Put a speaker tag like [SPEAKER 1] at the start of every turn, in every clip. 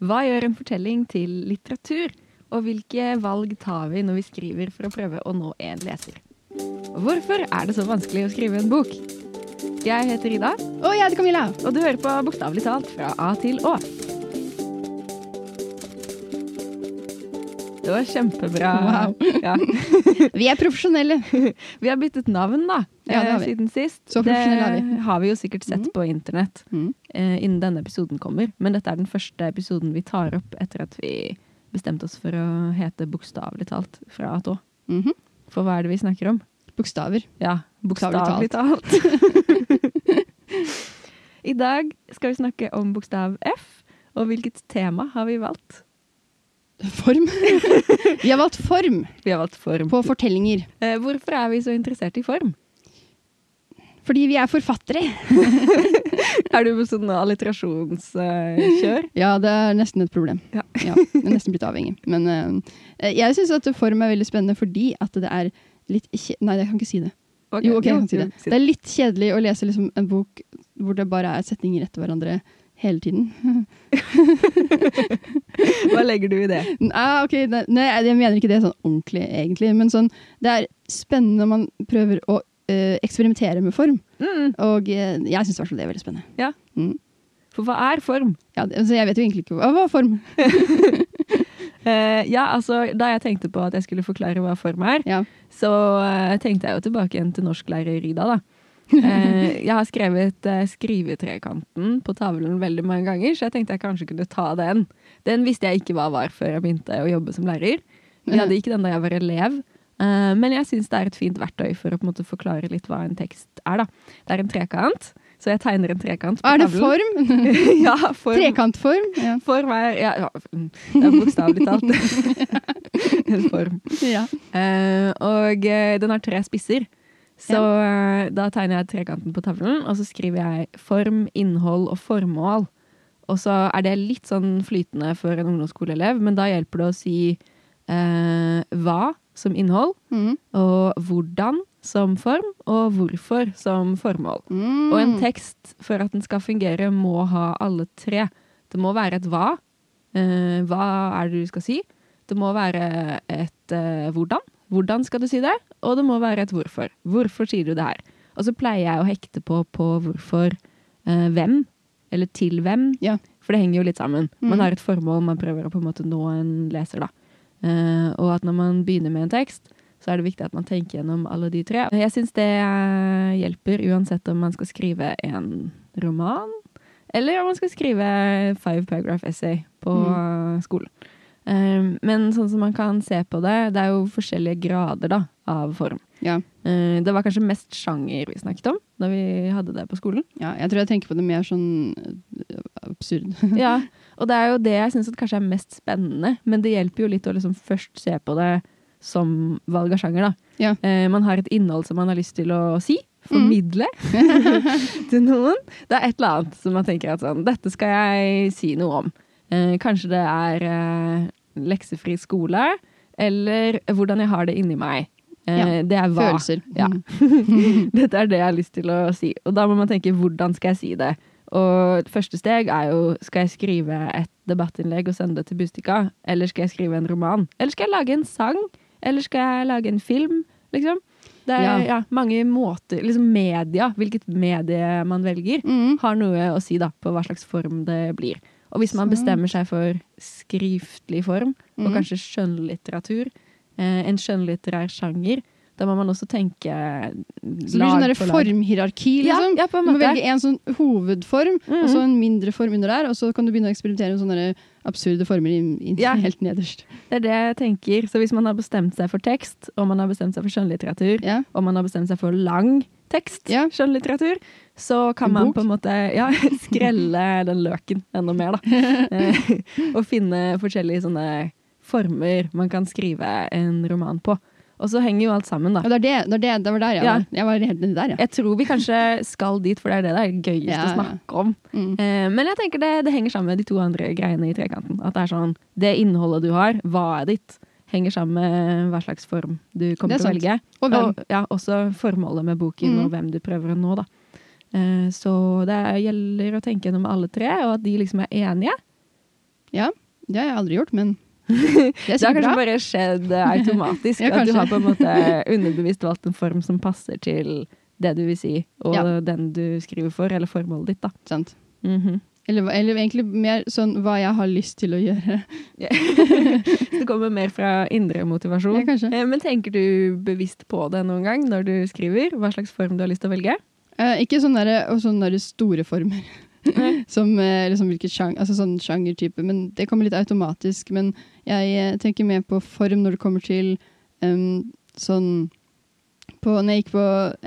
[SPEAKER 1] Hva gjør en fortelling til litteratur? Og hvilke valg tar vi når vi skriver for å prøve å nå en leser? Hvorfor er det så vanskelig å skrive en bok? Jeg heter Ida,
[SPEAKER 2] Og jeg heter Camilla.
[SPEAKER 1] og du hører på Bokstavelig talt fra A til Å. Det var kjempebra.
[SPEAKER 2] Wow.
[SPEAKER 1] Ja.
[SPEAKER 2] Vi er profesjonelle.
[SPEAKER 1] Vi har byttet navn da,
[SPEAKER 2] Ja, det har
[SPEAKER 1] eh,
[SPEAKER 2] vi.
[SPEAKER 1] siden sist.
[SPEAKER 2] Så profesjonelle er vi. Mhm.
[SPEAKER 1] Det har vi jo sikkert sett på internett
[SPEAKER 2] Mm.
[SPEAKER 1] eh, innen denne episoden kommer. Men dette er den første episoden vi tar opp etter at vi bestemte oss for å hete bokstavelig talt fra A til Å.
[SPEAKER 2] Mhm.
[SPEAKER 1] For hva er det vi snakker om?
[SPEAKER 2] Bokstaver.
[SPEAKER 1] Ja, bokstavelig
[SPEAKER 2] Bokstavelig
[SPEAKER 1] talt. I dag skal vi snakke om bokstav F, og hvilket tema har vi valgt?
[SPEAKER 2] Form. Vi har valgt form
[SPEAKER 1] Vi har valgt form.
[SPEAKER 2] på fortellinger.
[SPEAKER 1] Eh, Hvorfor er vi så interessert i form?
[SPEAKER 2] Fordi vi er forfattere.
[SPEAKER 1] Er du på sånn alliterasjonskjør?
[SPEAKER 2] Ja, det er nesten et problem.
[SPEAKER 1] Ja.
[SPEAKER 2] jeg er nesten blitt avhengig. Men eh, jeg syns at form er veldig spennende fordi at det er litt kje Nei, jeg kan ikke si det.
[SPEAKER 1] Ok,
[SPEAKER 2] Jo, ok, jeg kan si
[SPEAKER 1] jo,
[SPEAKER 2] det. Det er litt kjedelig å lese liksom, en bok hvor det bare er setninger etter hverandre hele tiden.
[SPEAKER 1] Hva legger du i det?
[SPEAKER 2] Ah, ok, nei, nei, jeg mener ikke det sånn ordentlig, egentlig. Men sånn, det er spennende når man prøver å eh, eksperimentere med form.
[SPEAKER 1] Mm,
[SPEAKER 2] Og eh, jeg syns i hvert fall det er veldig spennende. Mm.
[SPEAKER 1] for hva er form?
[SPEAKER 2] Ja, det, så jeg vet jo egentlig ikke hva, hva er form.
[SPEAKER 1] Eh, ja, altså, da jeg tenkte på at jeg skulle forklare hva form er,
[SPEAKER 2] Ja.
[SPEAKER 1] så eh, tenkte jeg jo tilbake igjen til norsklærer Ida, da. Eh, jeg har skrevet eh, skrivetrekanten på tavlen veldig mange ganger, så jeg tenkte jeg kanskje kunne ta den. Den visste jeg ikke hva var før jeg begynte å jobbe som lærer. Vi hadde ikke den da jeg var elev. eh, Men jeg syns det er et fint verktøy for å på en måte forklare litt hva en tekst er. da. Det er en trekant, så jeg tegner en trekant på
[SPEAKER 2] Ah, Er det
[SPEAKER 1] tavlen.
[SPEAKER 2] form?
[SPEAKER 1] ja, form
[SPEAKER 2] Trekantform? Ja.
[SPEAKER 1] Form er ja, ja, mm, Det er bokstavelig talt en form.
[SPEAKER 2] ja.
[SPEAKER 1] Eh, og eh, den har tre spisser. Så eh, da tegner jeg trekanten på tavlen, og så skriver jeg form, innhold og formål. Og så er det litt sånn flytende for en ungdomsskoleelev, men da hjelper det å si eh, hva som innhold,
[SPEAKER 2] Mm.
[SPEAKER 1] og hvordan som form, og hvorfor som formål.
[SPEAKER 2] Mm.
[SPEAKER 1] Og en tekst, for at den skal fungere, må ha alle tre. Det må være et hva. Eh, hva er det du skal si? Det må være et eh, hvordan. Hvordan skal du si det? Og det må være et hvorfor. Hvorfor sier du det her? Og så pleier jeg å hekte på på hvorfor eh, hvem, eller til hvem.
[SPEAKER 2] Ja.
[SPEAKER 1] For det henger jo litt sammen. Man
[SPEAKER 2] Mhm.
[SPEAKER 1] har et formål, man prøver å på en måte nå en leser, da. Eh, og at når man begynner med en tekst, så er det viktig at man tenker gjennom alle de tre. Jeg syns det eh, hjelper uansett om man skal skrive en roman, eller om man skal skrive five paragraph essay på eh, skolen. Eh, men sånn som man kan se på det, det er jo forskjellige grader da, av form.
[SPEAKER 2] ja.
[SPEAKER 1] Eh, det var kanskje mest sjanger vi snakket om når vi hadde det på skolen.
[SPEAKER 2] ja. Jeg tror jeg tenker på det mer sånn eh, absurd.
[SPEAKER 1] Ja, og det er jo det jeg syns kanskje er mest spennende, men det hjelper jo litt å liksom først se på det som valg av sjanger, da.
[SPEAKER 2] Ja.
[SPEAKER 1] Eh, man har et innhold som man har lyst til å si. Formidle
[SPEAKER 2] Mhm.
[SPEAKER 1] til noen. Det er et eller annet som man tenker at sånn, dette skal jeg si noe om. Eh, kanskje det er eh, leksefri skole, eller hvordan jeg har det inni meg. Eh, det er hva.
[SPEAKER 2] Følelser.
[SPEAKER 1] Ja.
[SPEAKER 2] Mm.
[SPEAKER 1] Dette er det jeg har lyst til å si. Og da må man tenke hvordan skal jeg si det? Og første steg er jo skal jeg skrive et debattinnlegg og sende det til Bustika? Eller skal jeg skrive en roman? Eller skal jeg lage en sang? Eller skal jeg lage en film? Liksom. Det er ja.
[SPEAKER 2] Ja.
[SPEAKER 1] mange måter Liksom media, hvilket medie man velger,
[SPEAKER 2] Mm.
[SPEAKER 1] har noe å si da på hva slags form det blir. Og hvis man
[SPEAKER 2] Sant.
[SPEAKER 1] bestemmer seg for skriftlig form, og
[SPEAKER 2] Mhm.
[SPEAKER 1] kanskje skjønnlitteratur, eh, en skjønnlitterær sjanger, da må man også tenke
[SPEAKER 2] Så det blir sånn der formhierarki, liksom.
[SPEAKER 1] Ja, ja, på en
[SPEAKER 2] Du må
[SPEAKER 1] måte.
[SPEAKER 2] velge en sånn hovedform,
[SPEAKER 1] Mhm.
[SPEAKER 2] og så en mindre form under der, og så kan du begynne å eksperimentere med sånne der absurde former inn, inn,
[SPEAKER 1] Ja.
[SPEAKER 2] helt nederst.
[SPEAKER 1] Det er det jeg tenker. Så hvis man har bestemt seg for tekst, og man har bestemt seg for skjønnlitteratur,
[SPEAKER 2] Ja.
[SPEAKER 1] og man har bestemt seg for lang tekst,
[SPEAKER 2] Ja.
[SPEAKER 1] skjønnlitteratur, så kan
[SPEAKER 2] En
[SPEAKER 1] man
[SPEAKER 2] bok?
[SPEAKER 1] på en måte ja, skrelle den løken enda mer, da. Eh, og finne forskjellige sånne former man kan skrive en roman på. Og så henger jo alt sammen, da.
[SPEAKER 2] Og det, er det, det, er det, det var der jeg
[SPEAKER 1] Ja.
[SPEAKER 2] var. Jeg var helt nedi der, ja.
[SPEAKER 1] Jeg tror vi kanskje skal dit, for det er det det er gøyest
[SPEAKER 2] Ja,
[SPEAKER 1] å
[SPEAKER 2] ja.
[SPEAKER 1] snakke om.
[SPEAKER 2] Mm.
[SPEAKER 1] Eh, men jeg tenker det, det henger sammen med de to andre greiene i trekanten. At det er sånn, det innholdet du har, hva er ditt, henger sammen med hva slags form du kommer
[SPEAKER 2] Det
[SPEAKER 1] til
[SPEAKER 2] er
[SPEAKER 1] å velge.
[SPEAKER 2] Og hvem.
[SPEAKER 1] Og, ja, også formålet med boken
[SPEAKER 2] Mhm.
[SPEAKER 1] og hvem du prøver å nå, da. Eh, så det gjelder å tenke gjennom alle tre, og at de liksom er enige.
[SPEAKER 2] Ja, det har jeg aldri gjort, men det er
[SPEAKER 1] Det har
[SPEAKER 2] sikkert
[SPEAKER 1] kanskje
[SPEAKER 2] bra.
[SPEAKER 1] bare skjedd eh, automatisk.
[SPEAKER 2] Ja,
[SPEAKER 1] at du
[SPEAKER 2] kanskje.
[SPEAKER 1] har på en måte underbevisst valgt en form som passer til det du vil si, og
[SPEAKER 2] Ja.
[SPEAKER 1] den du skriver for, eller formålet ditt. da.
[SPEAKER 2] Sant.
[SPEAKER 1] Mhm.
[SPEAKER 2] Eller, hva- eller egentlig mer sånn hva jeg har lyst til å gjøre.
[SPEAKER 1] Så det kommer mer fra indre motivasjon.
[SPEAKER 2] Ja, kanskje.
[SPEAKER 1] Eh, Men tenker du bevisst på det noen gang når du skriver? Hva slags form du har lyst til å velge?
[SPEAKER 2] Eh, ikke sånne, der, og sånne der store former.
[SPEAKER 1] Nei.
[SPEAKER 2] som eh, liksom hvilket sjang, altså sånn sjangertype. Men det kommer litt automatisk. Men jeg eh, tenker mer på form når det kommer til em, sånn på, Når jeg gikk på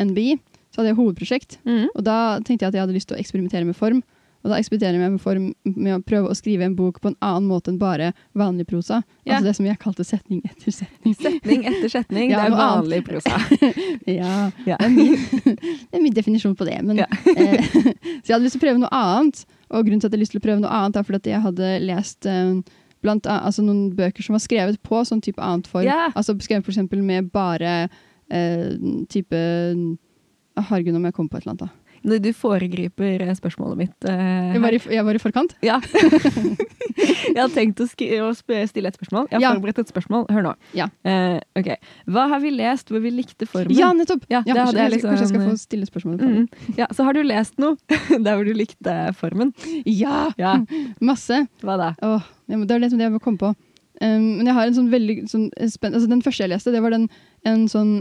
[SPEAKER 2] NBI, så hadde jeg hovedprosjekt.
[SPEAKER 1] Mhm.
[SPEAKER 2] Og da tenkte jeg at jeg hadde lyst til å eksperimentere med form. Og da eksperimenterer jeg med form med å prøve å skrive en bok på en annen måte enn bare vanlig prosa.
[SPEAKER 1] Ja.
[SPEAKER 2] Altså det som jeg kalte setning etter setning.
[SPEAKER 1] Setning etter setning. det
[SPEAKER 2] Ja,
[SPEAKER 1] er
[SPEAKER 2] noe annet.
[SPEAKER 1] vanlig prosa.
[SPEAKER 2] Ja,
[SPEAKER 1] Ja.
[SPEAKER 2] Det, er min, det er min definisjon på det. Men,
[SPEAKER 1] Ja.
[SPEAKER 2] eh, så jeg hadde lyst til å prøve noe annet. Og grunnen til at jeg hadde lyst til å prøve noe annet, er fordi at jeg hadde lest eh, blant annet, altså noen bøker som var skrevet på sånn type annet form.
[SPEAKER 1] Ja.
[SPEAKER 2] Altså skrevet for eksempel med bare eh, type ah, Herregud, om jeg kom på et eller annet, da.
[SPEAKER 1] Når du foregriper eh, spørsmålet mitt eh,
[SPEAKER 2] Jeg var i, jeg var i forkant.
[SPEAKER 1] Ja. jeg har tenkt å, skri å sp- stille et spørsmål. Jeg har
[SPEAKER 2] Ja.
[SPEAKER 1] forberedt et spørsmål. Hør nå.
[SPEAKER 2] Ja.
[SPEAKER 1] Eh, ok. Hva har vi lest hvor vi likte formen?
[SPEAKER 2] Ja, nettopp!
[SPEAKER 1] Ja, det hadde
[SPEAKER 2] kanskje,
[SPEAKER 1] jeg
[SPEAKER 2] kanskje, kanskje jeg skal
[SPEAKER 1] liksom-
[SPEAKER 2] få stille spørsmålet. på
[SPEAKER 1] Mm. ja, så har du lest noe der hvor du likte formen.
[SPEAKER 2] det. Ja!
[SPEAKER 1] Ja,
[SPEAKER 2] Masse.
[SPEAKER 1] Hva da?
[SPEAKER 2] Åh, jeg må- det er liksom det jeg må komme på. Um, men jeg har en sånn veldig sånn spenn... Altså, den første jeg leste, det var den, en sånn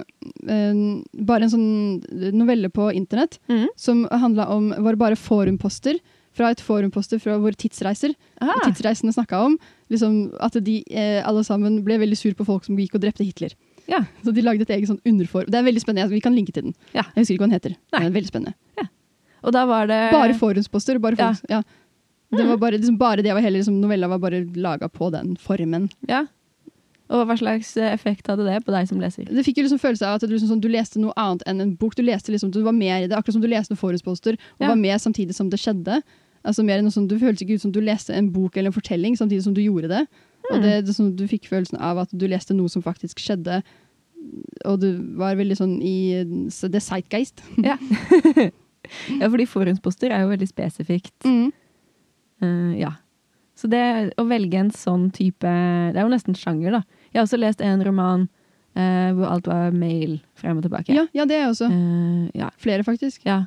[SPEAKER 2] en, Bare en sånn novelle på internett som handla om Var bare forumposter. Fra et forumposter fra våre tidsreiser.
[SPEAKER 1] Aha.
[SPEAKER 2] Og tidsreisene snakka om liksom, at de eh, alle sammen ble veldig sur på folk som gikk og drepte Hitler.
[SPEAKER 1] Ja.
[SPEAKER 2] Så de lagde et eget sånn underform. Det er veldig spennende. Jeg- Vi kan linke til den.
[SPEAKER 1] Ja.
[SPEAKER 2] Jeg husker ikke hva den heter.
[SPEAKER 1] Nei.
[SPEAKER 2] Men det er veldig spennende.
[SPEAKER 1] Og da var det
[SPEAKER 2] Bare forumsposter. Bare
[SPEAKER 1] Ja. Ah.
[SPEAKER 2] forums, ja. Det var bare, liksom, bare det var hele liksom, novella var bare laga på den formen.
[SPEAKER 1] Ja. Og hva slags eh, effekt hadde det på deg som leser?
[SPEAKER 2] Det fikk jo liksom følelse av at du, liksom, sånn, du leste noe annet enn en bok. Du leste liksom, du var med i det, akkurat som du leste en forhåndsposter, og
[SPEAKER 1] Ja.
[SPEAKER 2] var med samtidig som det skjedde. Altså mer enn noe sånn, Du føltes ikke ut som du leste en bok eller en fortelling samtidig som du gjorde det. Og
[SPEAKER 1] Hmm.
[SPEAKER 2] det, det, sånn, Du fikk følelsen av at du leste noe som faktisk skjedde, og du var veldig sånn i s- the zeitgeist.
[SPEAKER 1] Ja. ja, fordi forhåndsposter er jo veldig spesifikt. Eh, ja. Så det å velge en sånn type Det er jo nesten sjanger, da. Jeg har også lest en roman eh, hvor alt var mail frem og tilbake.
[SPEAKER 2] Ja, ja, det er jeg også.
[SPEAKER 1] Eh, ja.
[SPEAKER 2] Flere, faktisk.
[SPEAKER 1] ja.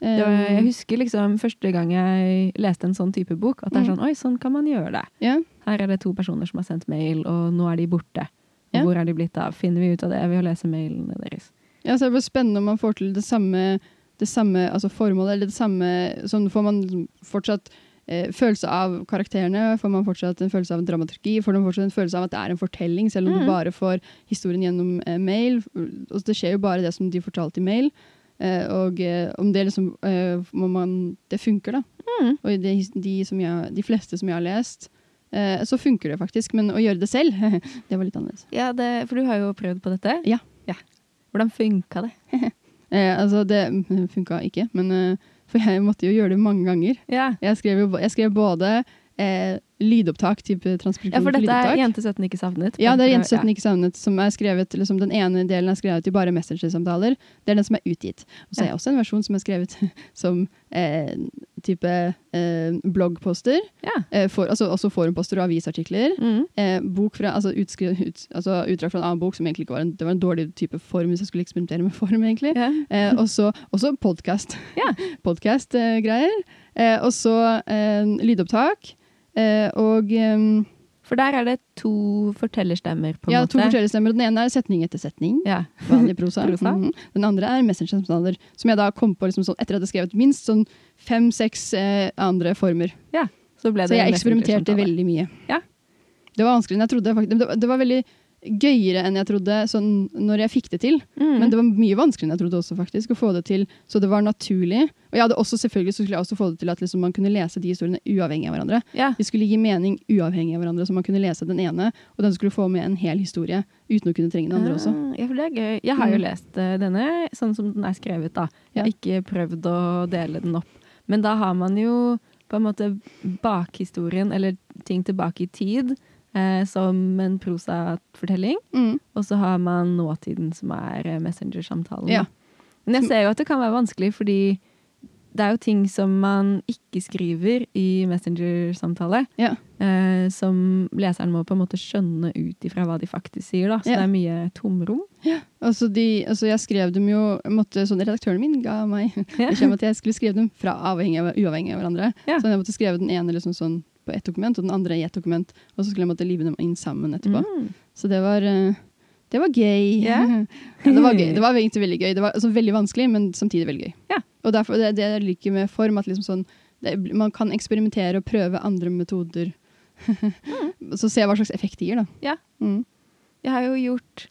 [SPEAKER 1] Det var, jeg
[SPEAKER 2] Eh,
[SPEAKER 1] husker liksom første gang jeg leste en sånn type bok, at det er
[SPEAKER 2] Mm.
[SPEAKER 1] sånn Oi, sånn kan man gjøre det.
[SPEAKER 2] Eh, ja.
[SPEAKER 1] Her er det to personer som har sendt mail, og nå er de borte. Og
[SPEAKER 2] Ja.
[SPEAKER 1] Hvor er de blitt av? Finner vi ut av det ved å lese mailene deres?
[SPEAKER 2] Ja, så det blir spennende om man får til det samme, det samme altså formålet, eller det samme Sånn får man liksom fortsatt eh, følelse av karakterene, får man fortsatt en følelse av dramaturgi, får man fortsatt en følelse av at det er en fortelling, selv om
[SPEAKER 1] Mhm.
[SPEAKER 2] du bare får historien gjennom eh, mail. Og det skjer jo bare det som de fortalte i mail. Eh, og eh, om det liksom eh, må man, Det funker, da.
[SPEAKER 1] Mm.
[SPEAKER 2] Og de, de, som jeg, de fleste som jeg har lest, eh, så funker det faktisk. Men å gjøre det selv, det var litt annerledes.
[SPEAKER 1] Ja, det, for du har jo prøvd på dette.
[SPEAKER 2] Ja.
[SPEAKER 1] Hvordan funka det?
[SPEAKER 2] Eh, altså, det funka ikke, men eh, For jeg måtte jo gjøre det mange ganger.
[SPEAKER 1] Ja.
[SPEAKER 2] Jeg skrev, jo, jeg skrev både eh, lydopptak, type transkripsjon
[SPEAKER 1] ja, for
[SPEAKER 2] til
[SPEAKER 1] dette er
[SPEAKER 2] lydopptak.
[SPEAKER 1] 'Jentesøtten ikke savnet'.
[SPEAKER 2] ja, det er
[SPEAKER 1] Ja.
[SPEAKER 2] 'Jentestøtten ikke savnet'. Som er skrevet, liksom, den ene delen er skrevet i bare messengersamtaler. Det er den som er utgitt. Og så er
[SPEAKER 1] Ja.
[SPEAKER 2] jeg også en versjon som er skrevet som eh, type eh, bloggposter.
[SPEAKER 1] Ja.
[SPEAKER 2] Eh, for, altså også forumposter og avisartikler.
[SPEAKER 1] Mm.
[SPEAKER 2] Eh, bok fra, altså, utskri, ut, altså Utdrag fra en annen bok som egentlig ikke var en, det var en dårlig type form hvis jeg skulle eksperimentere med form. egentlig.
[SPEAKER 1] Ja.
[SPEAKER 2] Eh, og så også podkast.
[SPEAKER 1] Ja.
[SPEAKER 2] Podkast-greier. Eh, og så eh, lydopptak. Eh, og eh,
[SPEAKER 1] For der er det to fortellerstemmer, på en
[SPEAKER 2] ja,
[SPEAKER 1] måte.
[SPEAKER 2] to fortellerstemmer. Den ene er setning etter setning.
[SPEAKER 1] Ja.
[SPEAKER 2] Vanlig prosa.
[SPEAKER 1] Prosa.
[SPEAKER 2] Mhm. Den andre er messengersamtaler. Som jeg da kom på liksom, sånn, etter at jeg skrevet minst sånn fem-seks eh, andre former.
[SPEAKER 1] Så, ble det
[SPEAKER 2] Så jeg
[SPEAKER 1] en
[SPEAKER 2] eksperimenterte
[SPEAKER 1] messengersamtale.
[SPEAKER 2] veldig mye.
[SPEAKER 1] Ja.
[SPEAKER 2] Det var vanskeligere enn jeg trodde. fakt- Det var, det var veldig gøyere enn jeg trodde sånn, når jeg fikk det til.
[SPEAKER 1] Mm.
[SPEAKER 2] Men det var mye vanskeligere enn jeg trodde også, faktisk, å få det til. Så det var naturlig. Og jeg hadde også selvfølgelig så skulle jeg også få det til at liksom, man kunne lese de historiene uavhengig av hverandre.
[SPEAKER 1] ja.
[SPEAKER 2] De skulle gi mening uavhengig av hverandre, så man kunne lese den ene, og den skulle få med en hel historie uten å kunne trenge den andre også.
[SPEAKER 1] Ah, Ja, for det er gøy. Jeg har jo
[SPEAKER 2] Mm.
[SPEAKER 1] lest eh, denne sånn som den er skrevet, da. Jeg har ikke prøvd å dele den opp. Men da har man jo på en måte bakhistorien, eller ting tilbake i tid, eh, som en prosafortelling.
[SPEAKER 2] Mm.
[SPEAKER 1] Og så har man nåtiden, som er eh, Messenger-samtalen.
[SPEAKER 2] Ja.
[SPEAKER 1] Men jeg ser jo at det kan være vanskelig, fordi det er jo ting som man ikke skriver i Messenger-samtale,
[SPEAKER 2] Ja.
[SPEAKER 1] eh, som leseren må på en måte skjønne ut ifra hva de faktisk sier. Da. Så det
[SPEAKER 2] Ja.
[SPEAKER 1] er mye tomrom.
[SPEAKER 2] Altså, de, altså jeg skrev dem jo måtte, sånn Redaktøren min ga meg
[SPEAKER 1] Ja.
[SPEAKER 2] beskjed om at jeg skulle skrive dem fra avhengig av, uavhengig av hverandre.
[SPEAKER 1] Ja.
[SPEAKER 2] Så jeg måtte skrive den ene liksom sånn på ett dokument og den andre i ett dokument. Og så skulle jeg måtte live dem inn sammen etterpå.
[SPEAKER 1] Mm.
[SPEAKER 2] Så det var, eh, det var gøy.
[SPEAKER 1] Ja.
[SPEAKER 2] ja, det var gøy. Det var egentlig veldig gøy. Det var altså, veldig vanskelig, men samtidig veldig gøy.
[SPEAKER 1] Ja.
[SPEAKER 2] Og derfor, det, det jeg liker med form, at liksom sånn, det, man kan eksperimentere og prøve andre metoder. Så se hva slags effekt det gir, da.
[SPEAKER 1] Mm. Ja.
[SPEAKER 2] Mm.
[SPEAKER 1] Jeg har jo gjort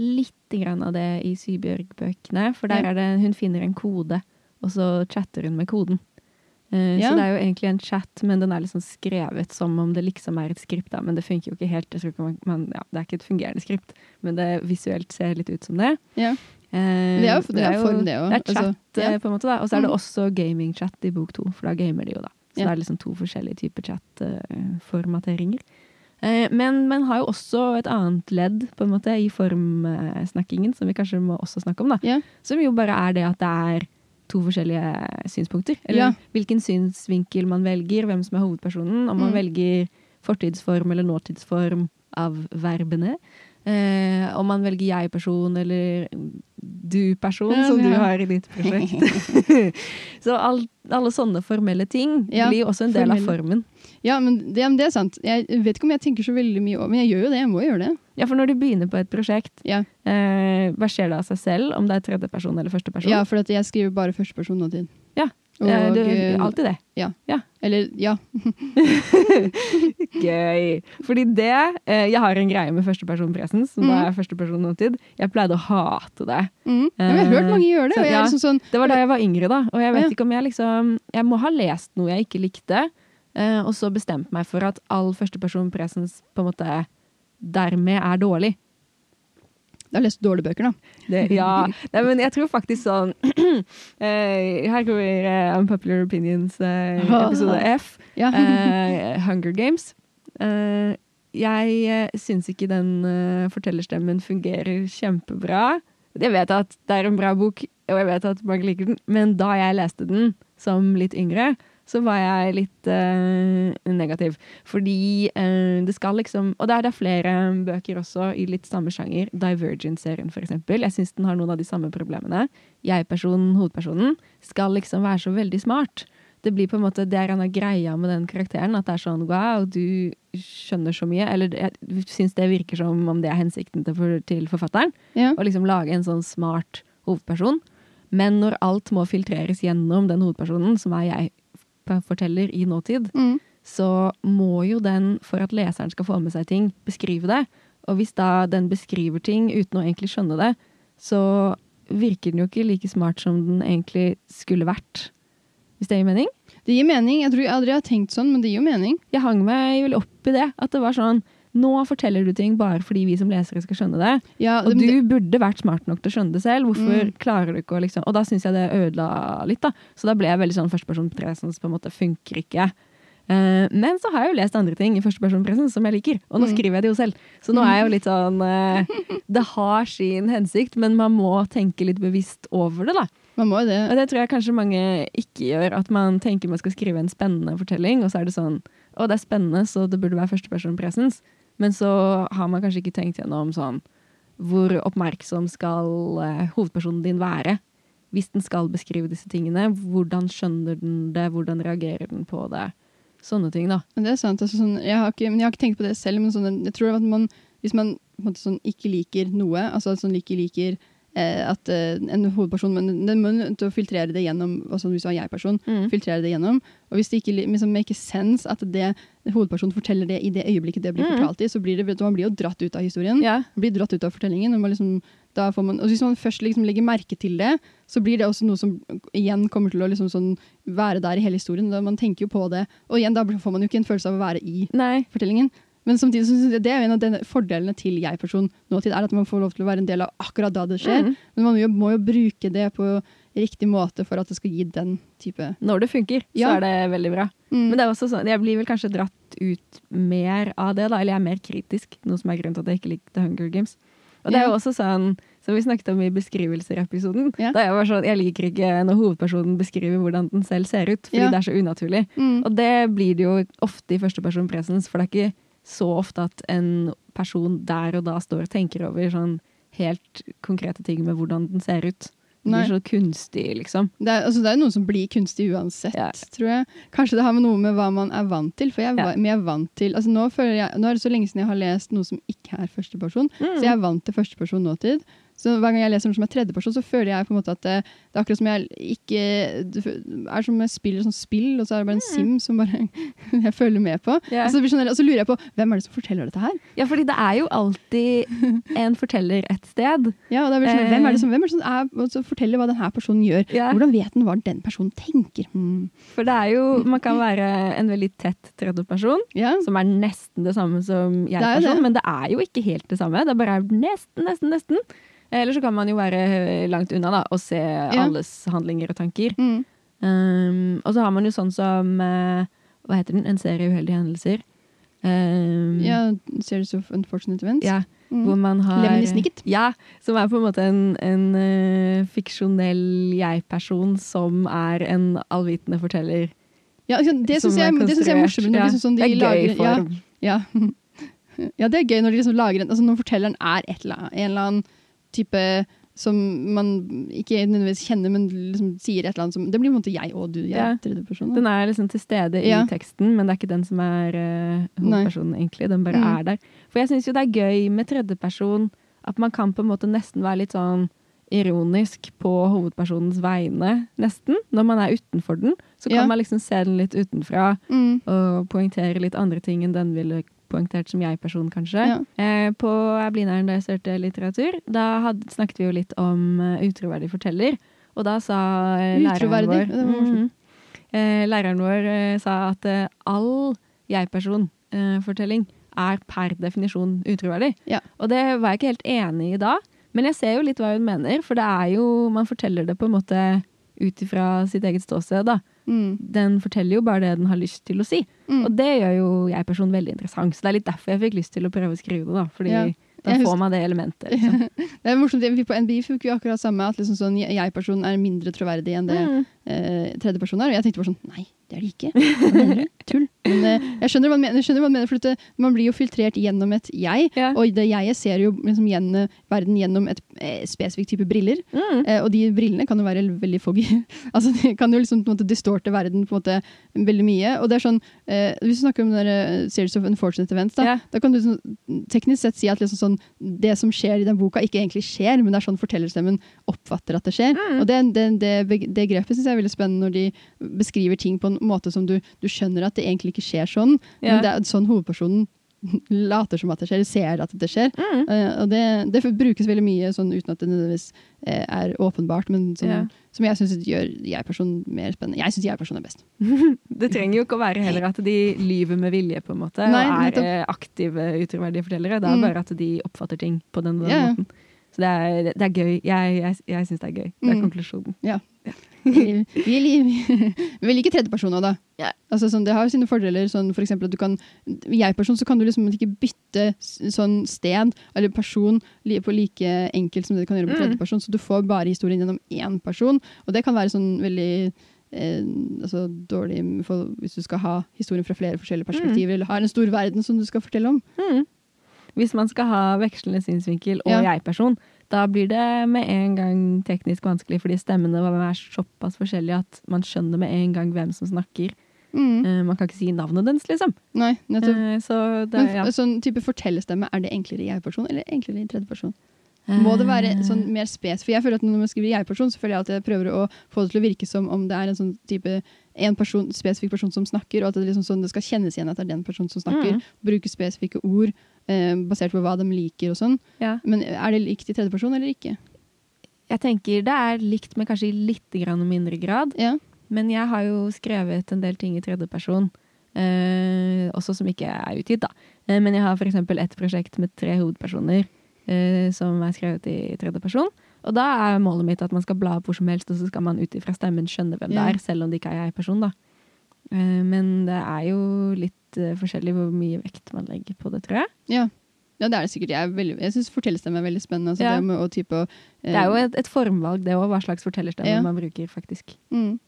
[SPEAKER 1] litt grann av det i Sybjørg-bøkene, for der
[SPEAKER 2] Ja.
[SPEAKER 1] er det, hun finner en kode, og så chatter hun med koden. Eh,
[SPEAKER 2] Ja.
[SPEAKER 1] Så det er jo egentlig en chat, men den er liksom skrevet som om det liksom er et skript. Da. Men det funker jo ikke helt. Jeg tror ikke man, man, ja, det er ikke et fungerende skript, men det visuelt ser litt ut som det.
[SPEAKER 2] Ja.
[SPEAKER 1] Eh,
[SPEAKER 2] Men det er jo- det er jo form, det også.
[SPEAKER 1] Det er chat,
[SPEAKER 2] Altså, ja.
[SPEAKER 1] eh, på en måte. da. Og så er det
[SPEAKER 2] Mm.
[SPEAKER 1] også gaming-chat i bok to, for da gamer de jo, da. Så
[SPEAKER 2] Ja.
[SPEAKER 1] det er liksom to forskjellige typer chat-formateringer. Eh, men man har jo også et annet ledd på en måte, i formsnakkingen, som vi kanskje må også snakke om, da.
[SPEAKER 2] Ja.
[SPEAKER 1] Som jo bare er det at det er to forskjellige synspunkter. Eller
[SPEAKER 2] Ja.
[SPEAKER 1] hvilken synsvinkel man velger, hvem som er hovedpersonen. Om man
[SPEAKER 2] Mm.
[SPEAKER 1] velger fortidsform eller nåtidsform av verbene. Eh, om man velger jeg-person eller du-person,
[SPEAKER 2] Ja,
[SPEAKER 1] som
[SPEAKER 2] ja.
[SPEAKER 1] du har i ditt prosjekt. Så all, alle sånne formelle ting
[SPEAKER 2] Ja,
[SPEAKER 1] blir jo også en del av
[SPEAKER 2] formelle.
[SPEAKER 1] formen.
[SPEAKER 2] Ja, men det, men det er sant. Jeg vet ikke om jeg tenker så veldig mye over Men jeg gjør jo det. Jeg må jo gjøre det.
[SPEAKER 1] Ja, for når du begynner på et prosjekt,
[SPEAKER 2] Ja,
[SPEAKER 1] eh, hva skjer det av seg selv? Om det er tredjeperson eller førsteperson?
[SPEAKER 2] ja for at jeg skriver bare førsteperson nå til.
[SPEAKER 1] Ja.
[SPEAKER 2] Og,
[SPEAKER 1] Eh, du,
[SPEAKER 2] eh,
[SPEAKER 1] alltid det.
[SPEAKER 2] Eller, ja.
[SPEAKER 1] Gøy. Fordi det eh, Jeg har en greie med førsteperson presens, som da
[SPEAKER 2] Mhm.
[SPEAKER 1] er førsteperson nåtid. Jeg pleide å hate det.
[SPEAKER 2] Mm. ja men jeg har hørt mange gjøre det. Og jeg er
[SPEAKER 1] Eh, Ja.
[SPEAKER 2] liksom sånn
[SPEAKER 1] Det var da jeg var yngre, da. Og jeg
[SPEAKER 2] Ja.
[SPEAKER 1] vet ikke om jeg liksom Jeg må ha lest noe jeg ikke likte, eh, og så bestemt meg for at all førsteperson presens på en måte dermed er dårlig.
[SPEAKER 2] Jeg har lest dårlige bøker, da.
[SPEAKER 1] Det, ja. Nei, men jeg tror faktisk sånn eh, Her kommer eh, Unpopular Opinions eh, episode F.
[SPEAKER 2] Ja.
[SPEAKER 1] Eh, Hunger Games. Eh, jeg eh, syns ikke den eh, fortellerstemmen fungerer kjempebra. Jeg vet at det er en bra bok, og jeg vet at mange liker den, men da jeg leste den som litt yngre, så var jeg litt eh, negativ. Fordi eh, det skal liksom Og det er, det er flere bøker også i litt samme sjanger. Divergent-serien, for eksempel. Jeg syns den har noen av de samme problemene. Jeg-personen, hovedpersonen, skal liksom være så veldig smart. Det blir på en måte, det er en av greia med den karakteren. At det er sånn wow, du skjønner så mye. Eller jeg syns det virker som om det er hensikten til, for, til forfatteren.
[SPEAKER 2] ja.
[SPEAKER 1] Å liksom lage en sånn smart hovedperson. Men når alt må filtreres gjennom den hovedpersonen, som er jeg-forteller i nåtid,
[SPEAKER 2] Mm.
[SPEAKER 1] så må jo den, for at leseren skal få med seg ting, beskrive det. Og hvis da den beskriver ting uten å egentlig skjønne det, så virker den jo ikke like smart som den egentlig skulle vært. Hvis det gir mening?
[SPEAKER 2] Det gir mening. Jeg tror jeg aldri har tenkt sånn, men det gir jo mening.
[SPEAKER 1] Jeg hang meg veldig opp i det. At det var sånn Nå forteller du ting bare fordi vi som lesere skal skjønne det.
[SPEAKER 2] Ja,
[SPEAKER 1] Og
[SPEAKER 2] det,
[SPEAKER 1] du
[SPEAKER 2] det,
[SPEAKER 1] burde vært smart nok til å skjønne det selv. Hvorfor
[SPEAKER 2] Mm.
[SPEAKER 1] klarer du ikke å liksom Og da syns jeg det ødela litt, da. Så da ble jeg veldig sånn førstepersonpresens på en måte funker ikke. Eh, men så har jeg jo lest andre ting i førstepersonpresens som jeg liker, og nå
[SPEAKER 2] Mm.
[SPEAKER 1] skriver jeg det jo selv. Så nå er jeg jo litt sånn eh, Det har sin hensikt, men man må tenke litt bevisst over det, da.
[SPEAKER 2] man må jo det.
[SPEAKER 1] Og det tror jeg kanskje mange ikke gjør. At man tenker man skal skrive en spennende fortelling, og så er det sånn Å, det er spennende, så det burde være førsteperson presens. Men så har man kanskje ikke tenkt gjennom sånn Hvor oppmerksom skal eh, hovedpersonen din være? Hvis den skal beskrive disse tingene, hvordan skjønner den det? Hvordan reagerer den på det? Sånne ting, da.
[SPEAKER 2] Men det er sant. Altså, sånn, jeg, har ikke, men jeg har ikke tenkt på det selv, men sånn, jeg tror at man, hvis man på en måte, sånn, ikke liker noe, altså at sånn, ikke liker eh, at eh, en hovedperson Men den må nødt til å filtrere det gjennom, altså, hvis du har en jeg-person,
[SPEAKER 1] Mm.
[SPEAKER 2] filtrere det gjennom. Og hvis det ikke li- liksom, make sense at det hovedpersonen forteller det i det øyeblikket det blir
[SPEAKER 1] Mm.
[SPEAKER 2] fortalt i, så blir det, vet du, man blir jo dratt ut av historien.
[SPEAKER 1] Ja.
[SPEAKER 2] Man blir dratt ut av fortellingen. Og, man liksom, da får man, og hvis man først liksom legger merke til det, så blir det også noe som igjen kommer til å liksom sånn være der i hele historien. Da man tenker jo på det. Og igjen, da får man jo ikke en følelse av å være i
[SPEAKER 1] Nei.
[SPEAKER 2] fortellingen. Men samtidig så synes jeg det er jo en av denne fordelene til jeg-person nåtid, er at man får lov til å være en del av akkurat da det skjer.
[SPEAKER 1] Mm.
[SPEAKER 2] Men man jo, må jo bruke det på riktig måte for at det skal gi den type
[SPEAKER 1] Når det funker, så
[SPEAKER 2] Ja.
[SPEAKER 1] er det veldig bra.
[SPEAKER 2] Mm.
[SPEAKER 1] Men det er også sånn, jeg blir vel kanskje dratt ut mer av det, da. Eller jeg er mer kritisk, noe som er grunnen til at jeg ikke likte Hunger Games. Og det er jo også sånn, Som vi snakket om i beskrivelser-episoden.
[SPEAKER 2] Ja.
[SPEAKER 1] Da jeg var sånn, jeg liker ikke når hovedpersonen beskriver hvordan den selv ser ut, fordi
[SPEAKER 2] Ja.
[SPEAKER 1] det er så unaturlig.
[SPEAKER 2] Mm.
[SPEAKER 1] Og det blir det jo ofte i førsteperson presens, for det er ikke så ofte at en person der og da står og tenker over sånn helt konkrete ting med hvordan den ser ut. Det
[SPEAKER 2] Nei.
[SPEAKER 1] blir så kunstig, liksom.
[SPEAKER 2] Det er, altså, det er jo noe som blir kunstig uansett,
[SPEAKER 1] Ja.
[SPEAKER 2] tror jeg. Kanskje det har med noe med hva man er vant til. For jeg,
[SPEAKER 1] Ja.
[SPEAKER 2] var- men jeg er vant til altså, nå, føler jeg, nå er det så lenge siden jeg har lest noe som ikke er førsteperson,
[SPEAKER 1] Mm.
[SPEAKER 2] så jeg er vant til førsteperson nåtid. Så hver gang jeg leser noe som er tredjeperson, så føler jeg på en måte at det, det er akkurat som jeg ikke Det er som jeg spiller sånn spill, og så er det bare en sim som bare jeg følger med på.
[SPEAKER 1] Mm. Ja.
[SPEAKER 2] Og, så blir det sånn, og så lurer jeg på hvem er det som forteller dette her?
[SPEAKER 1] Ja, fordi det er jo alltid en forteller et sted.
[SPEAKER 2] Ja, og da blir det sånn,
[SPEAKER 1] Eh.
[SPEAKER 2] hvem er det som, hvem er det som er, og så forteller hva denne personen gjør?
[SPEAKER 1] Ja.
[SPEAKER 2] Hvordan vet den hva den personen tenker? Hmm.
[SPEAKER 1] For det er jo, man kan være en veldig tett tredjeperson,
[SPEAKER 2] Ja.
[SPEAKER 1] som er nesten det samme som
[SPEAKER 2] Det er jo
[SPEAKER 1] jeg-person,
[SPEAKER 2] det.
[SPEAKER 1] men det er jo ikke helt det samme. Det er bare nesten, nesten, nesten. Eller så kan man jo være eh, langt unna da, og se alles handlinger og tanker.
[SPEAKER 2] Mm.
[SPEAKER 1] Um, og så har man jo sånn som, eh, hva heter den, en serie uheldige hendelser. Um,
[SPEAKER 2] Ja, Series of Unfortunate Events.
[SPEAKER 1] ja, hvor
[SPEAKER 2] Mm.
[SPEAKER 1] man har
[SPEAKER 2] Lemony Snicket.
[SPEAKER 1] Ja, som er på en måte en, en eh, fiksjonell jeg-person som er en allvitende forteller.
[SPEAKER 2] ja ikke sant, det
[SPEAKER 1] som
[SPEAKER 2] syns jeg, det synes jeg er morsomt. Når de,
[SPEAKER 1] konstruert.
[SPEAKER 2] liksom, sånn, de
[SPEAKER 1] det er
[SPEAKER 2] lager,
[SPEAKER 1] gøy form.
[SPEAKER 2] Ja, ja. ja, det er gøy når de liksom lager en altså Når fortelleren er et eller annet, en eller annen type som man ikke nødvendigvis kjenner, men liksom sier et eller annet som Det blir på en måte jeg og du, jeg
[SPEAKER 1] Ja.
[SPEAKER 2] er tredjeperson. da.
[SPEAKER 1] Den er liksom til stede i
[SPEAKER 2] Ja.
[SPEAKER 1] teksten, men det er ikke den som er eh,
[SPEAKER 2] Nei.
[SPEAKER 1] hovedpersonen, egentlig. Den bare
[SPEAKER 2] Mm.
[SPEAKER 1] er der. For jeg syns jo det er gøy med tredjeperson at man kan på en måte nesten være litt sånn ironisk på hovedpersonens vegne, nesten. Når man er utenfor den, så kan
[SPEAKER 2] Ja.
[SPEAKER 1] man liksom se den litt utenfra
[SPEAKER 2] Mm.
[SPEAKER 1] og poengtere litt andre ting enn den ville poengtert som jeg-person, kanskje.
[SPEAKER 2] Ja.
[SPEAKER 1] Eh, på Blindern, da jeg studerte litteratur, da hadde, snakket vi jo litt om eh, utroverdig forteller. Og da sa eh, læreren
[SPEAKER 2] Utroverdig,
[SPEAKER 1] vår
[SPEAKER 2] det var
[SPEAKER 1] Mhm.
[SPEAKER 2] morsomt.
[SPEAKER 1] eh, Læreren vår eh, sa at eh, all jeg-person-fortelling er per definisjon utroverdig.
[SPEAKER 2] Ja.
[SPEAKER 1] Og det var jeg ikke helt enig i da, men jeg ser jo litt hva hun mener. For det er jo, man forteller det på en måte ut ifra sitt eget ståsted, da
[SPEAKER 2] Mm.
[SPEAKER 1] den forteller jo bare det den har lyst til å si.
[SPEAKER 2] Mm.
[SPEAKER 1] Og det gjør jo jeg personen veldig interessant. Så det er litt derfor jeg fikk lyst til å prøve å skrive det, da. Fordi
[SPEAKER 2] Ja.
[SPEAKER 1] da
[SPEAKER 2] Jeg
[SPEAKER 1] får
[SPEAKER 2] husker-
[SPEAKER 1] man det elementet. Liksom.
[SPEAKER 2] Det er morsomt, vi På NBI fikk vi akkurat samme, at liksom sånn, jeg-personen er mindre troverdig enn det
[SPEAKER 1] Mm.
[SPEAKER 2] eh, tredjeperson er. Og jeg tenkte bare sånn Nei, det er det ikke. Hva mener du? Tull. Men eh, jeg skjønner hva han mener, jeg skjønner hva han mener for det, man blir jo filtrert gjennom et jeg.
[SPEAKER 1] Ja.
[SPEAKER 2] Og det jeget ser jo liksom gjen- verden gjennom et eh, spesifikk type briller.
[SPEAKER 1] Mm.
[SPEAKER 2] Eh, og de brillene kan jo være veldig foggy. altså, de kan jo liksom på en måte distorte verden på en måte veldig mye. Og det er sånn, eh, Hvis du snakker om den der, eh, Series of Unfortunate Events, da,
[SPEAKER 1] Ja.
[SPEAKER 2] da kan du sånn, teknisk sett si at liksom sånn, det som skjer i den boka, ikke egentlig skjer, men det er sånn fortellerstemmen oppfatter at det skjer.
[SPEAKER 1] Mm.
[SPEAKER 2] Og det, det, det, beg- det grepet syns jeg er veldig spennende når de beskriver ting på en måte som du, du skjønner at det egentlig ikke skjer sånn,
[SPEAKER 1] Ja.
[SPEAKER 2] men det er sånn hovedpersonen later som at det skjer, ser at det skjer.
[SPEAKER 1] Mm.
[SPEAKER 2] Eh, og det, det brukes veldig mye sånn uten at det nødvendigvis eh, er åpenbart, men som,
[SPEAKER 1] Ja.
[SPEAKER 2] som jeg syns gjør jeg-personen mer spennende. Jeg syns jeg-personen er best.
[SPEAKER 1] Det trenger jo ikke å være heller at de lyver med vilje, på en måte.
[SPEAKER 2] Nei,
[SPEAKER 1] og er eh, aktive, utroverdige fortellere. Det er
[SPEAKER 2] Mm.
[SPEAKER 1] bare at de oppfatter ting på den, og den
[SPEAKER 2] Ja, ja.
[SPEAKER 1] måten. Så det er, det er gøy. Jeg, jeg, jeg syns det er gøy. Det er
[SPEAKER 2] Mm.
[SPEAKER 1] konklusjonen.
[SPEAKER 2] Vi, vi, li- vi liker tredjepersoner, da.
[SPEAKER 1] Ja.
[SPEAKER 2] Altså, sånn, det har jo sine fordeler. Sånn, for eksempel at du kan, I jeg-person så kan du liksom ikke bytte s- sånn sted eller person li- på like enkelt som det du kan gjøre på
[SPEAKER 1] Mm.
[SPEAKER 2] tredjeperson, så du får bare historien gjennom én person. Og det kan være sånn veldig eh, altså, dårlig for, hvis du skal ha historien fra flere forskjellige perspektiver, eller har en stor verden som du skal fortelle om.
[SPEAKER 1] Mm. Hvis man skal ha vekslende synsvinkel og
[SPEAKER 2] Ja.
[SPEAKER 1] jeg-person, da blir det med en gang teknisk vanskelig, fordi stemmene er såpass forskjellige at man skjønner med en gang hvem som snakker.
[SPEAKER 2] Mm.
[SPEAKER 1] Eh, Man kan ikke si navnet dens, liksom.
[SPEAKER 2] Nei, nettopp.
[SPEAKER 1] Eh, Så det,
[SPEAKER 2] Men
[SPEAKER 1] ja.
[SPEAKER 2] f- sånn type fortellerstemme, er det enklere i jeg-person eller enklere i tredjeperson? Må det
[SPEAKER 1] Mm.
[SPEAKER 2] være sånn mer spes? For jeg føler at når man skriver jeg-person, så føler jeg at jeg prøver å få det til å virke som om det er en sånn type en person, spesifikk person som snakker, og at det, liksom sånn, det skal kjennes igjen at det er den personen som snakker.
[SPEAKER 1] Mm.
[SPEAKER 2] Bruke spesifikke ord eh, basert på hva de liker og sånn.
[SPEAKER 1] Ja.
[SPEAKER 2] Men er det likt i tredjeperson eller ikke?
[SPEAKER 1] Jeg tenker det er likt, men kanskje i litt grann mindre grad.
[SPEAKER 2] Ja.
[SPEAKER 1] Men jeg har jo skrevet en del ting i tredjeperson, eh, også som ikke er utgitt, da. Eh, men jeg har f.eks. et prosjekt med tre hovedpersoner eh, som er skrevet i tredjeperson. Og da er målet mitt at man skal bla opp hvor som helst, og så skal man ut ifra stemmen skjønne hvem
[SPEAKER 2] Ja.
[SPEAKER 1] det er, selv om det ikke er jeg-person, da. Eh, men det er jo litt eh, forskjellig hvor mye vekt man legger på det, tror jeg.
[SPEAKER 2] ja. Ja, det er det sikkert. Jeg, er veldig- jeg syns fortellerstemme er veldig spennende. Altså,
[SPEAKER 1] Ja.
[SPEAKER 2] det med å type å, eh,
[SPEAKER 1] Det er jo et, et formvalg, det òg, hva slags fortellerstemme
[SPEAKER 2] Ja.
[SPEAKER 1] man bruker, faktisk.
[SPEAKER 2] mm,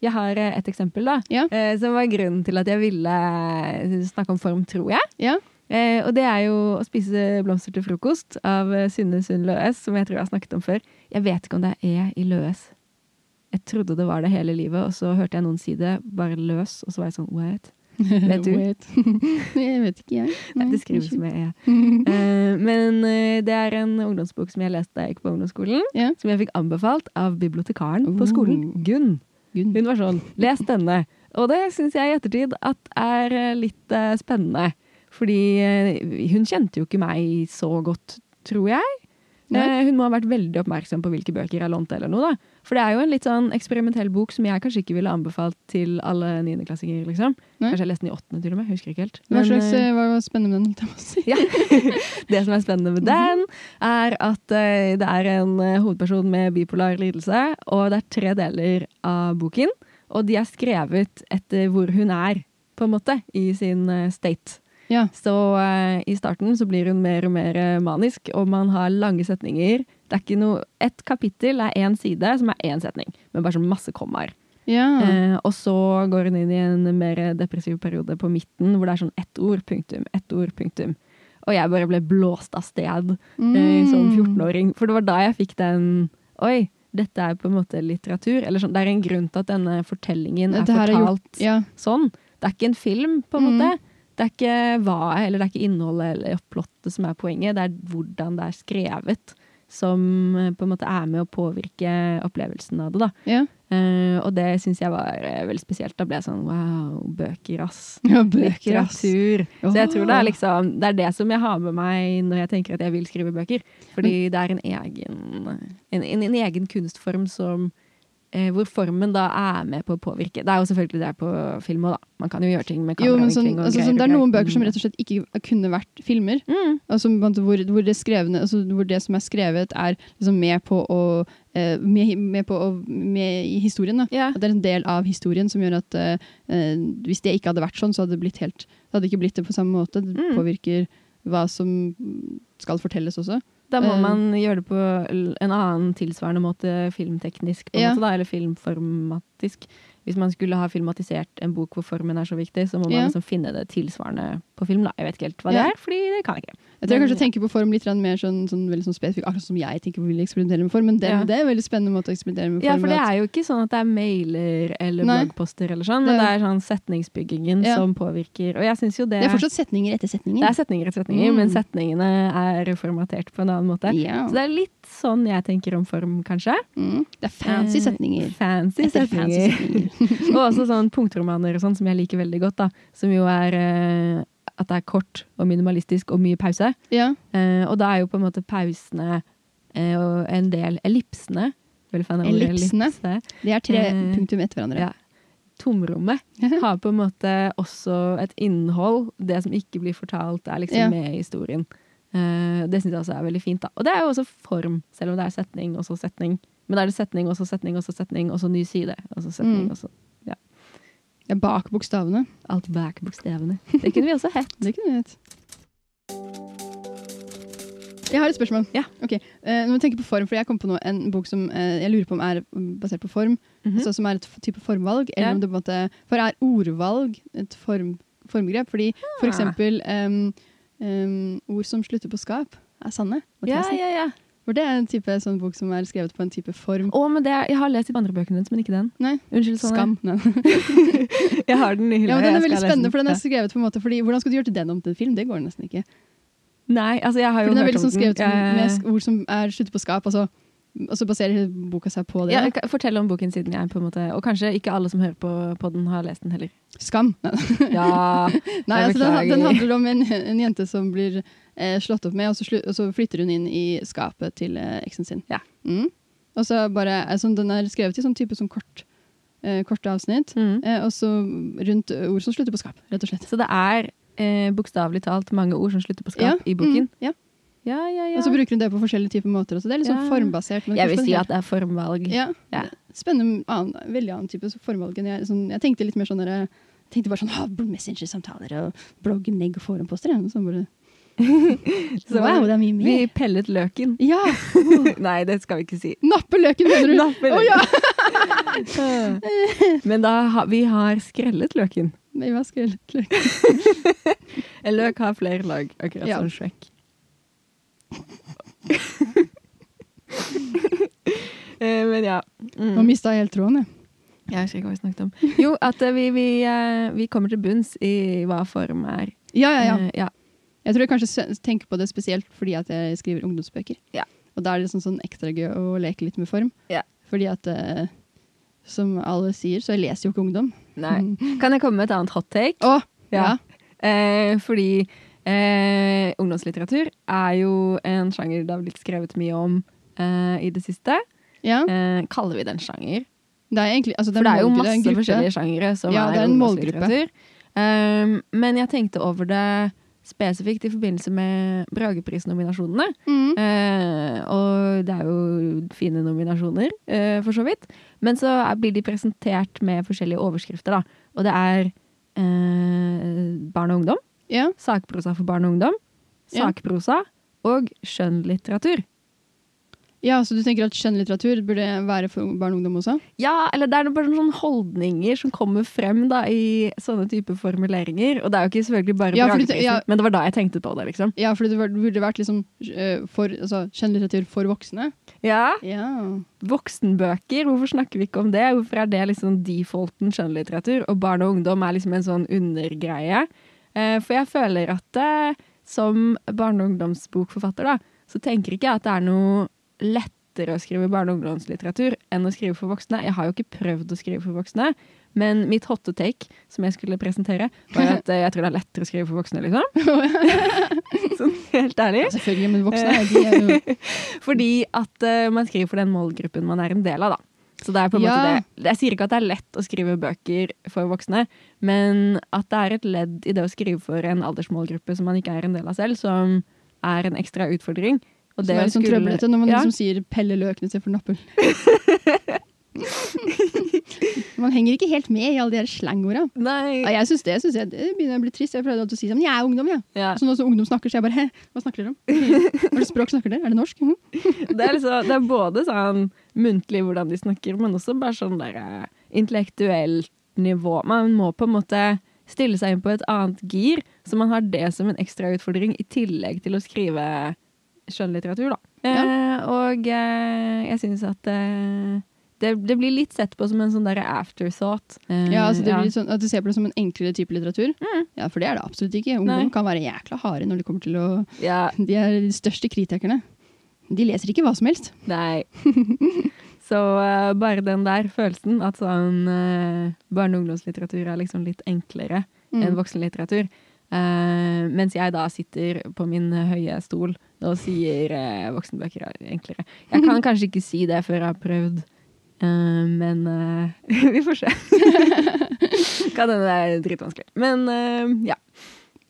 [SPEAKER 1] Jeg har eh, et eksempel, da,
[SPEAKER 2] Ja.
[SPEAKER 1] eh, som var grunnen til at jeg ville eh, snakke om form, tror jeg.
[SPEAKER 2] ja.
[SPEAKER 1] Eh, og det er jo å spise blomster til frokost av eh, Synne Sund Løes, som jeg tror jeg har snakket om før. Jeg vet ikke om det er E i Løes. Jeg trodde det var det hele livet, og så hørte jeg noen si det, bare løs, og så var jeg sånn what? Vet du?
[SPEAKER 2] Wait. jeg vet ikke, jeg. Nei,
[SPEAKER 1] Det skrives
[SPEAKER 2] kanskje.
[SPEAKER 1] med e. Eh, men eh, det er en ungdomsbok som jeg leste da jeg gikk på ungdomsskolen,
[SPEAKER 2] Ja.
[SPEAKER 1] som jeg fikk anbefalt av bibliotekaren
[SPEAKER 2] Oh.
[SPEAKER 1] på skolen, Gunn.
[SPEAKER 2] Gunn.
[SPEAKER 1] Hun var sånn, les denne. Og det syns jeg i ettertid at er eh, litt eh, spennende. Fordi eh, hun kjente jo ikke meg så godt, tror jeg.
[SPEAKER 2] Nei.
[SPEAKER 1] Eh, Hun må ha vært veldig oppmerksom på hvilke bøker jeg lånte. eller noe da. For det er jo en litt sånn eksperimentell bok som jeg kanskje ikke ville anbefalt til alle niendeklassinger. Liksom.
[SPEAKER 2] Nei.
[SPEAKER 1] Kanskje jeg leste den i åttende til og med. Husker ikke helt.
[SPEAKER 2] Hva
[SPEAKER 1] Men,
[SPEAKER 2] slags
[SPEAKER 1] eh,
[SPEAKER 2] eh, Hva var spennende med den? holdt jeg på å si?
[SPEAKER 1] ja. Det som er spennende med den, er at eh, det er en eh, hovedperson med bipolar lidelse, og det er tre deler av boken. Og de er skrevet etter hvor hun er, på en måte, i sin eh, state.
[SPEAKER 2] Ja.
[SPEAKER 1] Så eh, i starten så blir hun mer og mer eh, manisk, og man har lange setninger. Det er ikke noe Et kapittel er én side, som er én setning, men bare sånn masse kommaer.
[SPEAKER 2] ja.
[SPEAKER 1] Eh, og så går hun inn i en mer depressiv periode på midten, hvor det er sånn ett ord, punktum, ett ord, punktum. Og jeg bare ble blåst av sted eh,
[SPEAKER 2] Mm.
[SPEAKER 1] som 14-åring. For det var da jeg fikk den Oi, dette er på en måte litteratur. Eller sånn, det er en grunn til at denne fortellingen er
[SPEAKER 2] Dette her er gjort-
[SPEAKER 1] fortalt
[SPEAKER 2] Ja.
[SPEAKER 1] sånn. Det er ikke en film, på en
[SPEAKER 2] Mm.
[SPEAKER 1] måte. Det er ikke hva, eller det er ikke innholdet eller plottet som er poenget, det er hvordan det er skrevet. Som eh, på en måte er med å påvirke opplevelsen av det. da.
[SPEAKER 2] Ja.
[SPEAKER 1] Eh, og det syns jeg var eh, veldig spesielt. Da ble jeg sånn wow, bøker, ass.
[SPEAKER 2] ja. Bøker, ass.
[SPEAKER 1] Litteratur. Så jeg tror det
[SPEAKER 2] Åh.
[SPEAKER 1] er liksom Det er det som jeg har med meg når jeg tenker at jeg vil skrive bøker. Fordi det er en egen En, en, en egen kunstform som eh, Hvor formen da er med på å påvirke. Det er jo selvfølgelig det er på film òg, da. Man kan jo gjøre ting med
[SPEAKER 2] Jo, men sånn,
[SPEAKER 1] kameravinkling og
[SPEAKER 2] altså,
[SPEAKER 1] greier.
[SPEAKER 2] sånn, det er
[SPEAKER 1] og
[SPEAKER 2] noen
[SPEAKER 1] greier.
[SPEAKER 2] bøker som rett og slett ikke kunne vært filmer.
[SPEAKER 1] mm.
[SPEAKER 2] Altså, på en måte, hvor, hvor, det skrevne, altså, hvor det som er skrevet, er liksom med på å eh, med, med på å med i historien. Da.
[SPEAKER 1] Ja.
[SPEAKER 2] At Det er en del av historien som gjør at eh, eh, hvis det ikke hadde vært sånn, så hadde det blitt helt Det hadde ikke blitt det på samme måte. Det
[SPEAKER 1] Mm.
[SPEAKER 2] påvirker hva som skal fortelles også.
[SPEAKER 1] Da må
[SPEAKER 2] Eh,
[SPEAKER 1] man gjøre det på l- en annen tilsvarende måte filmteknisk, på en
[SPEAKER 2] Ja.
[SPEAKER 1] måte da, eller filmformatisk. Hvis man skulle ha filmatisert en bok hvor formen er så viktig, så må man
[SPEAKER 2] Ja.
[SPEAKER 1] liksom finne det tilsvarende på film. da. Jeg vet ikke helt hva det
[SPEAKER 2] Ja.
[SPEAKER 1] er, fordi det kan jeg ikke.
[SPEAKER 2] Jeg tror jeg
[SPEAKER 1] Men-
[SPEAKER 2] kanskje tenker på form litt grann mer sånn, sånn, veldig sånn spesifikk, akkurat som jeg tenker vil eksperimentere med form, men det,
[SPEAKER 1] Ja.
[SPEAKER 2] det er en veldig spennende måte å eksperimentere med form.
[SPEAKER 1] Ja, for det
[SPEAKER 2] at-
[SPEAKER 1] er jo ikke sånn at det er mailer eller
[SPEAKER 2] Nei.
[SPEAKER 1] bloggposter eller sånn, men det
[SPEAKER 2] Det er-
[SPEAKER 1] er sånn setningsbyggingen
[SPEAKER 2] Ja.
[SPEAKER 1] som påvirker. Og jeg synes jo det
[SPEAKER 2] det er fortsatt setninger etter setninger.
[SPEAKER 1] Det er setninger etter setninger,
[SPEAKER 2] Mm.
[SPEAKER 1] men setningene er formatert på en annen måte.
[SPEAKER 2] Ja.
[SPEAKER 1] Så det er litt sånn jeg tenker om form, kanskje.
[SPEAKER 2] Mm. Det er fancy
[SPEAKER 1] Eh,
[SPEAKER 2] setninger.
[SPEAKER 1] Fancy
[SPEAKER 2] Etter
[SPEAKER 1] setninger.
[SPEAKER 2] fancy setninger.
[SPEAKER 1] Og også sånn punktromaner og sånn, som jeg liker veldig godt. da. Som jo er eh, at det er kort og minimalistisk og mye pause.
[SPEAKER 2] ja.
[SPEAKER 1] Eh, og da er jo på en måte pausene eh, og en del ellipsene veldig fan av ordet
[SPEAKER 2] Ellipsene?
[SPEAKER 1] ellipse.
[SPEAKER 2] Det er tre
[SPEAKER 1] Eh,
[SPEAKER 2] punktum etter hverandre.
[SPEAKER 1] Ja. Tomrommet har på en måte også et innhold. Det som ikke blir fortalt, er liksom
[SPEAKER 2] Ja.
[SPEAKER 1] med i historien. Eh, det syns jeg også er veldig fint. da. Og det er jo også form, selv om det er setning og så setning. Men da er det setning og så setning og så setning, og så ny side. Og så setning,
[SPEAKER 2] Mm.
[SPEAKER 1] og så
[SPEAKER 2] Det er bak bokstavene.
[SPEAKER 1] Alt bak bokstavene. Det kunne vi også hett.
[SPEAKER 2] Det kunne jeg hett. Jeg har et spørsmål.
[SPEAKER 1] Ja.
[SPEAKER 2] Ok, eh, Når vi tenker på form, for Jeg kom på nå en bok som eh, jeg lurer på om er basert på form.
[SPEAKER 1] Mhm.
[SPEAKER 2] altså Som er et f- type formvalg. Eller
[SPEAKER 1] Ja.
[SPEAKER 2] om det på en måte, for er ordvalg et form, formgrep? Fordi for
[SPEAKER 1] Ah.
[SPEAKER 2] eksempel em, em, ord som slutter på skap, er sanne. Og
[SPEAKER 1] Ja,
[SPEAKER 2] trasige.
[SPEAKER 1] ja, ja.
[SPEAKER 2] For det er en type sånn bok som er skrevet på en type
[SPEAKER 1] Å,
[SPEAKER 2] form.
[SPEAKER 1] sånn, men det er, jeg har lest de andre bøkene hennes, men ikke den.
[SPEAKER 2] Nei.
[SPEAKER 1] Unnskyld, Sanne.
[SPEAKER 2] Skam. Nei.
[SPEAKER 1] Jeg har den i hylla.
[SPEAKER 2] Ja, men den er
[SPEAKER 1] jeg skal
[SPEAKER 2] veldig
[SPEAKER 1] lese
[SPEAKER 2] spennende, for den er skrevet på en måte fordi, Hvordan skal du gjøre til den om til en film? Det går nesten ikke.
[SPEAKER 1] Ja. Nei, altså jeg har
[SPEAKER 2] For
[SPEAKER 1] jo
[SPEAKER 2] den er
[SPEAKER 1] hørt
[SPEAKER 2] veldig
[SPEAKER 1] om
[SPEAKER 2] sånn skrevet
[SPEAKER 1] Jeg-
[SPEAKER 2] med sk- ord som er slutter på skap, og så, og så baserer hele boka seg på det.
[SPEAKER 1] ja,
[SPEAKER 2] da.
[SPEAKER 1] jeg kan- Fortell om boken siden jeg på en måte Og kanskje ikke alle som hører på podden har lest den heller.
[SPEAKER 2] Skam. Nei,
[SPEAKER 1] Ja,
[SPEAKER 2] nei
[SPEAKER 1] Jeg
[SPEAKER 2] altså, den,
[SPEAKER 1] beklager.
[SPEAKER 2] den handler om en, en jente som blir eh, slått opp med, og så, slu, og så flytter hun inn i skapet til eh, eksen sin.
[SPEAKER 1] Ja.
[SPEAKER 2] Mm. Og så bare, altså, Den er skrevet i sånn type sånn kort, eh, korte avsnitt,
[SPEAKER 1] Mm.
[SPEAKER 2] eh, og så rundt ord som slutter på skap, rett og slett.
[SPEAKER 1] Så det er eh, bokstavelig talt mange ord som slutter på skap
[SPEAKER 2] Ja,
[SPEAKER 1] i boken.
[SPEAKER 2] mm, ja.
[SPEAKER 1] Ja, ja, ja.
[SPEAKER 2] Og så bruker hun det på forskjellige typer måter. Også. Det er litt sånn
[SPEAKER 1] Ja.
[SPEAKER 2] formbasert. men
[SPEAKER 1] jeg
[SPEAKER 2] kanskje
[SPEAKER 1] vil
[SPEAKER 2] på en
[SPEAKER 1] si
[SPEAKER 2] helt
[SPEAKER 1] at det er formvalg.
[SPEAKER 2] Ja.
[SPEAKER 1] Ja.
[SPEAKER 2] Spennende, annen, veldig annen type formvalg enn jeg. Sånn, jeg tenkte litt mer sånn der, jeg tenkte bare sånn «Å, Messenger-samtaler og blogginnlegg og forumposter. jeg». Sånn bare,
[SPEAKER 1] Så
[SPEAKER 2] wow, det er mye
[SPEAKER 1] vi
[SPEAKER 2] mer.
[SPEAKER 1] pellet løken.
[SPEAKER 2] Ja!
[SPEAKER 1] Nei, det skal vi ikke si.
[SPEAKER 2] Nappe løken, mener du?
[SPEAKER 1] Nappe
[SPEAKER 2] Å, ja.
[SPEAKER 1] løken. Men da har vi har skrellet løken.
[SPEAKER 2] Vi var skrellet løken.
[SPEAKER 1] En løk har flere lag, akkurat
[SPEAKER 2] Ja.
[SPEAKER 1] som Shrek. Eh, Men ja.
[SPEAKER 2] Nå
[SPEAKER 1] Mm.
[SPEAKER 2] mista jeg helt tråden, jeg.
[SPEAKER 1] Jeg husker ikke hva vi snakket om. Jo, at eh, vi, vi, eh, vi kommer til bunns i hva form er.
[SPEAKER 2] Ja, ja, ja.
[SPEAKER 1] Eh, ja.
[SPEAKER 2] Jeg tror jeg kanskje s- tenker på det spesielt fordi at jeg skriver ungdomsbøker.
[SPEAKER 1] Ja.
[SPEAKER 2] Og da er det liksom sånn ekstra gøy å leke litt med form.
[SPEAKER 1] Ja.
[SPEAKER 2] Fordi at, eh, som alle sier, så jeg leser jo ikke ungdom.
[SPEAKER 1] Nei.
[SPEAKER 2] Mm.
[SPEAKER 1] Kan jeg komme med et annet hot take?
[SPEAKER 2] Å,
[SPEAKER 1] Ja.
[SPEAKER 2] ja.
[SPEAKER 1] Eh, fordi eh, ungdomslitteratur er jo en sjanger det har blitt skrevet mye om eh, i det siste.
[SPEAKER 2] ja.
[SPEAKER 1] Eh, kaller vi det en sjanger?
[SPEAKER 2] Det er egentlig, altså, det
[SPEAKER 1] For det er jo
[SPEAKER 2] målgruppe, en
[SPEAKER 1] masse
[SPEAKER 2] gruppe.
[SPEAKER 1] forskjellige sjangere som
[SPEAKER 2] Ja,
[SPEAKER 1] er,
[SPEAKER 2] det er en
[SPEAKER 1] ungdomslitteratur. Ehm, men jeg tenkte over det spesifikt i forbindelse med Bragepris-nominasjonene.
[SPEAKER 2] Mm.
[SPEAKER 1] Eh, og det er jo fine nominasjoner, eh, for så vidt. Men så er, blir de presentert med forskjellige overskrifter, da. Og det er eh, barn og ungdom,
[SPEAKER 2] Ja.
[SPEAKER 1] sakprosa for barn og ungdom,
[SPEAKER 2] Ja.
[SPEAKER 1] sakprosa og skjønnlitteratur.
[SPEAKER 2] ja, så du tenker at skjønnlitteratur burde være for barn og ungdom også?
[SPEAKER 1] Ja, eller det er noe- bare sånne holdninger som kommer frem da, i sånne type formuleringer. Og det er jo ikke selvfølgelig bare
[SPEAKER 2] Ja, fordi-
[SPEAKER 1] Brageprisen,
[SPEAKER 2] ja.
[SPEAKER 1] men det var da jeg tenkte på det, liksom.
[SPEAKER 2] Ja, fordi det var- burde vært liksom eh, for, altså, skjønnlitteratur for voksne.
[SPEAKER 1] Ja,
[SPEAKER 2] Ja.
[SPEAKER 1] Voksenbøker, hvorfor snakker vi ikke om det? Hvorfor er det liksom defaulten skjønnlitteratur? Og barn og ungdom er liksom en sånn undergreie. Eh, For jeg føler at eh, som barne- og ungdomsbokforfatter, da, så tenker ikke jeg at det er noe lettere å skrive barne- og ungdomslitteratur enn å skrive for voksne. Jeg har jo ikke prøvd å skrive for voksne, men mitt hotte take som jeg skulle presentere, var at eh, jeg tror det er lettere å skrive for voksne, liksom. Sånn helt ærlig.
[SPEAKER 2] Selvfølgelig, men voksne de er jo
[SPEAKER 1] Fordi at eh, man skriver for den målgruppen man er en del av, da. Så det er på en
[SPEAKER 2] Ja.
[SPEAKER 1] måte det. Jeg sier ikke at det er lett å skrive bøker for voksne, men at det er et ledd i det å skrive for en aldersmålgruppe som man ikke er en del av selv, som er en ekstra utfordring. Og
[SPEAKER 2] det er
[SPEAKER 1] å
[SPEAKER 2] litt sånn
[SPEAKER 1] skulle-
[SPEAKER 2] trøblete når man
[SPEAKER 1] ja,
[SPEAKER 2] liksom sier 'pelle løkene istedenfor nappel'. man henger ikke helt med i alle de her slangorda. Ja,
[SPEAKER 1] Nei,
[SPEAKER 2] jeg synes det, synes jeg, det begynner å bli trist. Jeg prøvde alltid å si sånn, jeg er ungdom, jeg.
[SPEAKER 1] ja.
[SPEAKER 2] Så nå som ungdom snakker, så jeg bare hæ, hva snakker dere om? Hva slags språk snakker dere? Er det norsk? Mhm.
[SPEAKER 1] Det er, liksom, det er både sånn muntlig hvordan de snakker, men også bare sånn der eh, intellektuelt nivå. Man må på en måte stille seg inn på et annet gir, så man har det som en ekstra utfordring i tillegg til å skrive skjønnlitteratur, da. Eh, og eh, jeg syns at eh, det, det blir litt sett på som en sånn derre afterthought. Eh,
[SPEAKER 2] Ja, altså det blir litt sånn at du ser på det som en enklere type litteratur.
[SPEAKER 1] Mm.
[SPEAKER 2] Ja, for det er det absolutt ikke. Ungdom
[SPEAKER 1] Nei.
[SPEAKER 2] kan være jækla harde når det kommer til å
[SPEAKER 1] ja,
[SPEAKER 2] De er de største kritikerne. De leser ikke hva som helst.
[SPEAKER 1] Nei. Så eh, bare den der følelsen at sånn eh, barne- og ungdomslitteratur er liksom litt enklere enn voksenlitteratur. Eh, mens jeg da sitter på min eh, høye stol og sier eh, voksenbøker er enklere. Jeg kan kanskje ikke si det før jeg har prøvd, eh, men eh, vi får se. kan hende det er dritvanskelig. Men eh, ja.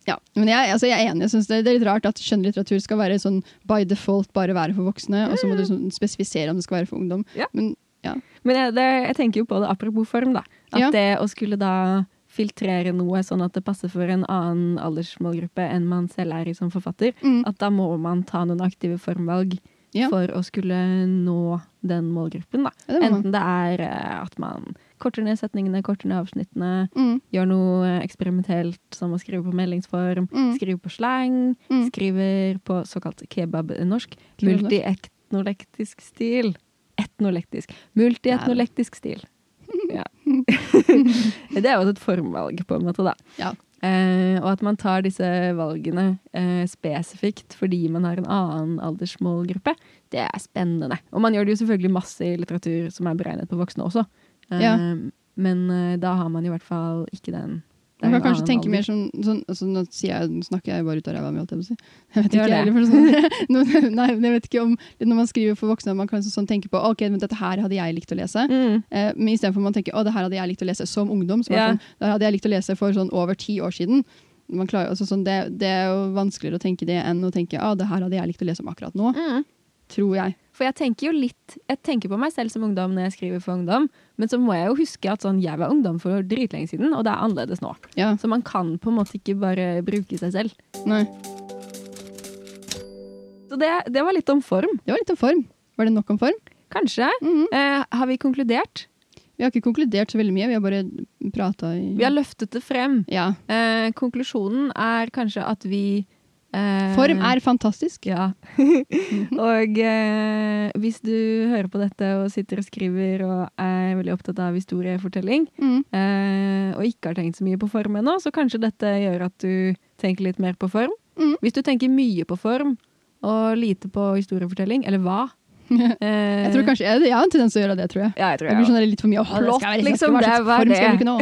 [SPEAKER 2] Ja, men jeg, altså jeg er enig. Jeg synes det, det er litt rart at skjønnlitteratur skal være sånn by default bare være for voksne, og så må du sånn spesifisere om det skal være for ungdom.
[SPEAKER 1] Ja.
[SPEAKER 2] Men ja.
[SPEAKER 1] Men jeg, det, jeg tenker jo på det apropos form, da. At
[SPEAKER 2] Ja.
[SPEAKER 1] det å skulle da filtrere noe sånn at det passer for en annen aldersmålgruppe enn man selv er i som forfatter,
[SPEAKER 2] Mm.
[SPEAKER 1] at da må man ta noen aktive formvalg
[SPEAKER 2] Ja.
[SPEAKER 1] for å skulle nå den målgruppen, da.
[SPEAKER 2] Ja, det må man.
[SPEAKER 1] Enten det er eh, at man korter ned setningene, korter ned avsnittene,
[SPEAKER 2] Mm.
[SPEAKER 1] gjør noe eh, eksperimentelt som å skrive på meldingsform,
[SPEAKER 2] Mm.
[SPEAKER 1] skrive på slang,
[SPEAKER 2] Mm.
[SPEAKER 1] skriver på såkalt kebab-norsk,
[SPEAKER 2] Kebab-norsk.
[SPEAKER 1] multietnolektisk stil. Etnolektisk. Multietnolektisk stil. Ja. det er jo også et formvalg, på en måte, da.
[SPEAKER 2] Ja.
[SPEAKER 1] Eh, og at man tar disse valgene eh, spesifikt fordi man har en annen aldersmålgruppe, det er spennende. Og man gjør det jo selvfølgelig masse i litteratur som er beregnet på voksne også. Eh,
[SPEAKER 2] Ja.
[SPEAKER 1] Men eh, da har man i hvert fall ikke den det er
[SPEAKER 2] Man
[SPEAKER 1] en
[SPEAKER 2] kan kanskje
[SPEAKER 1] annen
[SPEAKER 2] tenke
[SPEAKER 1] alder.
[SPEAKER 2] mer som sånn, altså, nå, sier jeg, nå snakker jeg bare ut av ræva mi, holdt jeg på å si. Jeg
[SPEAKER 1] Gjør
[SPEAKER 2] vet ikke, jeg
[SPEAKER 1] det.
[SPEAKER 2] heller, for sånn, nå- nei, men jeg vet ikke om Når man skriver for voksne, man kan sånn tenke på ok, men dette her hadde jeg likt å lese.
[SPEAKER 1] mm.
[SPEAKER 2] Eh, men istedenfor man tenker å, det her hadde jeg likt å lese som ungdom. Så var det
[SPEAKER 1] Ja.
[SPEAKER 2] sånn, det hadde jeg likt å lese for sånn over ti år siden. Man klarer, altså sånn, det, det er jo vanskeligere å tenke det enn å tenke å, det her hadde jeg likt å lese om akkurat nå.
[SPEAKER 1] Mm.
[SPEAKER 2] Tror jeg.
[SPEAKER 1] For jeg tenker jo litt Jeg tenker på meg selv som ungdom når jeg skriver for ungdom, men så må jeg jo huske at sånn, jeg var ungdom for dritlenge siden, og det er annerledes nå.
[SPEAKER 2] Ja,
[SPEAKER 1] Så man kan på en måte ikke bare bruke seg selv.
[SPEAKER 2] nei.
[SPEAKER 1] Så det, det var litt om form,
[SPEAKER 2] Det var litt om form. Var det nok om form?
[SPEAKER 1] kanskje.
[SPEAKER 2] Mhm.
[SPEAKER 1] Eh, har vi konkludert?
[SPEAKER 2] Vi har ikke konkludert så veldig mye, vi har bare prata i
[SPEAKER 1] Vi har løftet det frem.
[SPEAKER 2] Ja.
[SPEAKER 1] Eh, konklusjonen er kanskje at vi eh,
[SPEAKER 2] Form er fantastisk.
[SPEAKER 1] Ja. og eh, hvis du hører på dette og sitter og skriver og er veldig opptatt av historiefortelling,
[SPEAKER 2] Mhm.
[SPEAKER 1] eh, og ikke har tenkt så mye på form ennå, så kanskje dette gjør at du tenker litt mer på form.
[SPEAKER 2] Mm.
[SPEAKER 1] Hvis du tenker mye på form og lite på historiefortelling, eller hva? eh,
[SPEAKER 2] Jeg tror kanskje, jeg, jeg har en tendens til å gjøre det, tror jeg.
[SPEAKER 1] Ja, jeg tror
[SPEAKER 2] Det
[SPEAKER 1] jeg
[SPEAKER 2] blir
[SPEAKER 1] også.
[SPEAKER 2] sånn der litt for mye. Åh, det
[SPEAKER 1] Plott,
[SPEAKER 2] skal være, det
[SPEAKER 1] liksom,
[SPEAKER 2] skal, hva
[SPEAKER 1] det
[SPEAKER 2] slags
[SPEAKER 1] var
[SPEAKER 2] form skal
[SPEAKER 1] det.
[SPEAKER 2] du kunne nå?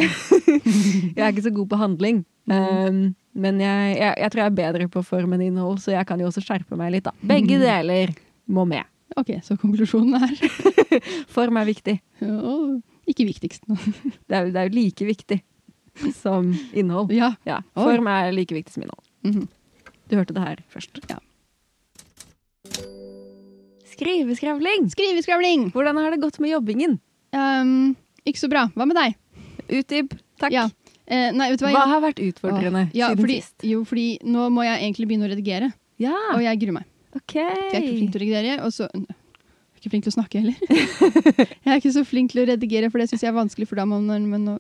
[SPEAKER 1] Jeg er ikke så god på handling.
[SPEAKER 2] Mm.
[SPEAKER 1] Um, men jeg, jeg, jeg tror jeg er bedre på form enn innhold, så jeg kan jo også skjerpe meg litt. da.
[SPEAKER 2] Mm.
[SPEAKER 1] Begge deler må med.
[SPEAKER 2] Ok, så konklusjonen er
[SPEAKER 1] Form er viktig.
[SPEAKER 2] Åh, ikke viktigst.
[SPEAKER 1] Det er, jo- det er jo like viktig som innhold.
[SPEAKER 2] Ja.
[SPEAKER 1] Ja,
[SPEAKER 2] Oi.
[SPEAKER 1] Form er like viktig som innhold.
[SPEAKER 2] Mhm.
[SPEAKER 1] Du hørte det her først.
[SPEAKER 2] Ja.
[SPEAKER 1] Skriveskravling!
[SPEAKER 2] Skriveskravling!
[SPEAKER 1] Hvordan har det gått med jobbingen?
[SPEAKER 2] Ehm, ikke så bra. Hva med deg?
[SPEAKER 1] Utdyp, takk.
[SPEAKER 2] Ja. Eh, nei, vet du hva?
[SPEAKER 1] Hva har vært utfordrende
[SPEAKER 2] Åh, ja,
[SPEAKER 1] siden
[SPEAKER 2] fordi,
[SPEAKER 1] sist? Ah.
[SPEAKER 2] Jo, fordi nå må jeg egentlig begynne å redigere,
[SPEAKER 1] Ja,
[SPEAKER 2] og jeg gruer meg.
[SPEAKER 1] OK.
[SPEAKER 2] For jeg er ikke flink til å redigere, og så Jeg er ikke flink til å snakke heller. jeg er ikke så flink til å redigere, for det syns jeg er vanskelig, for da, må man, men, nå-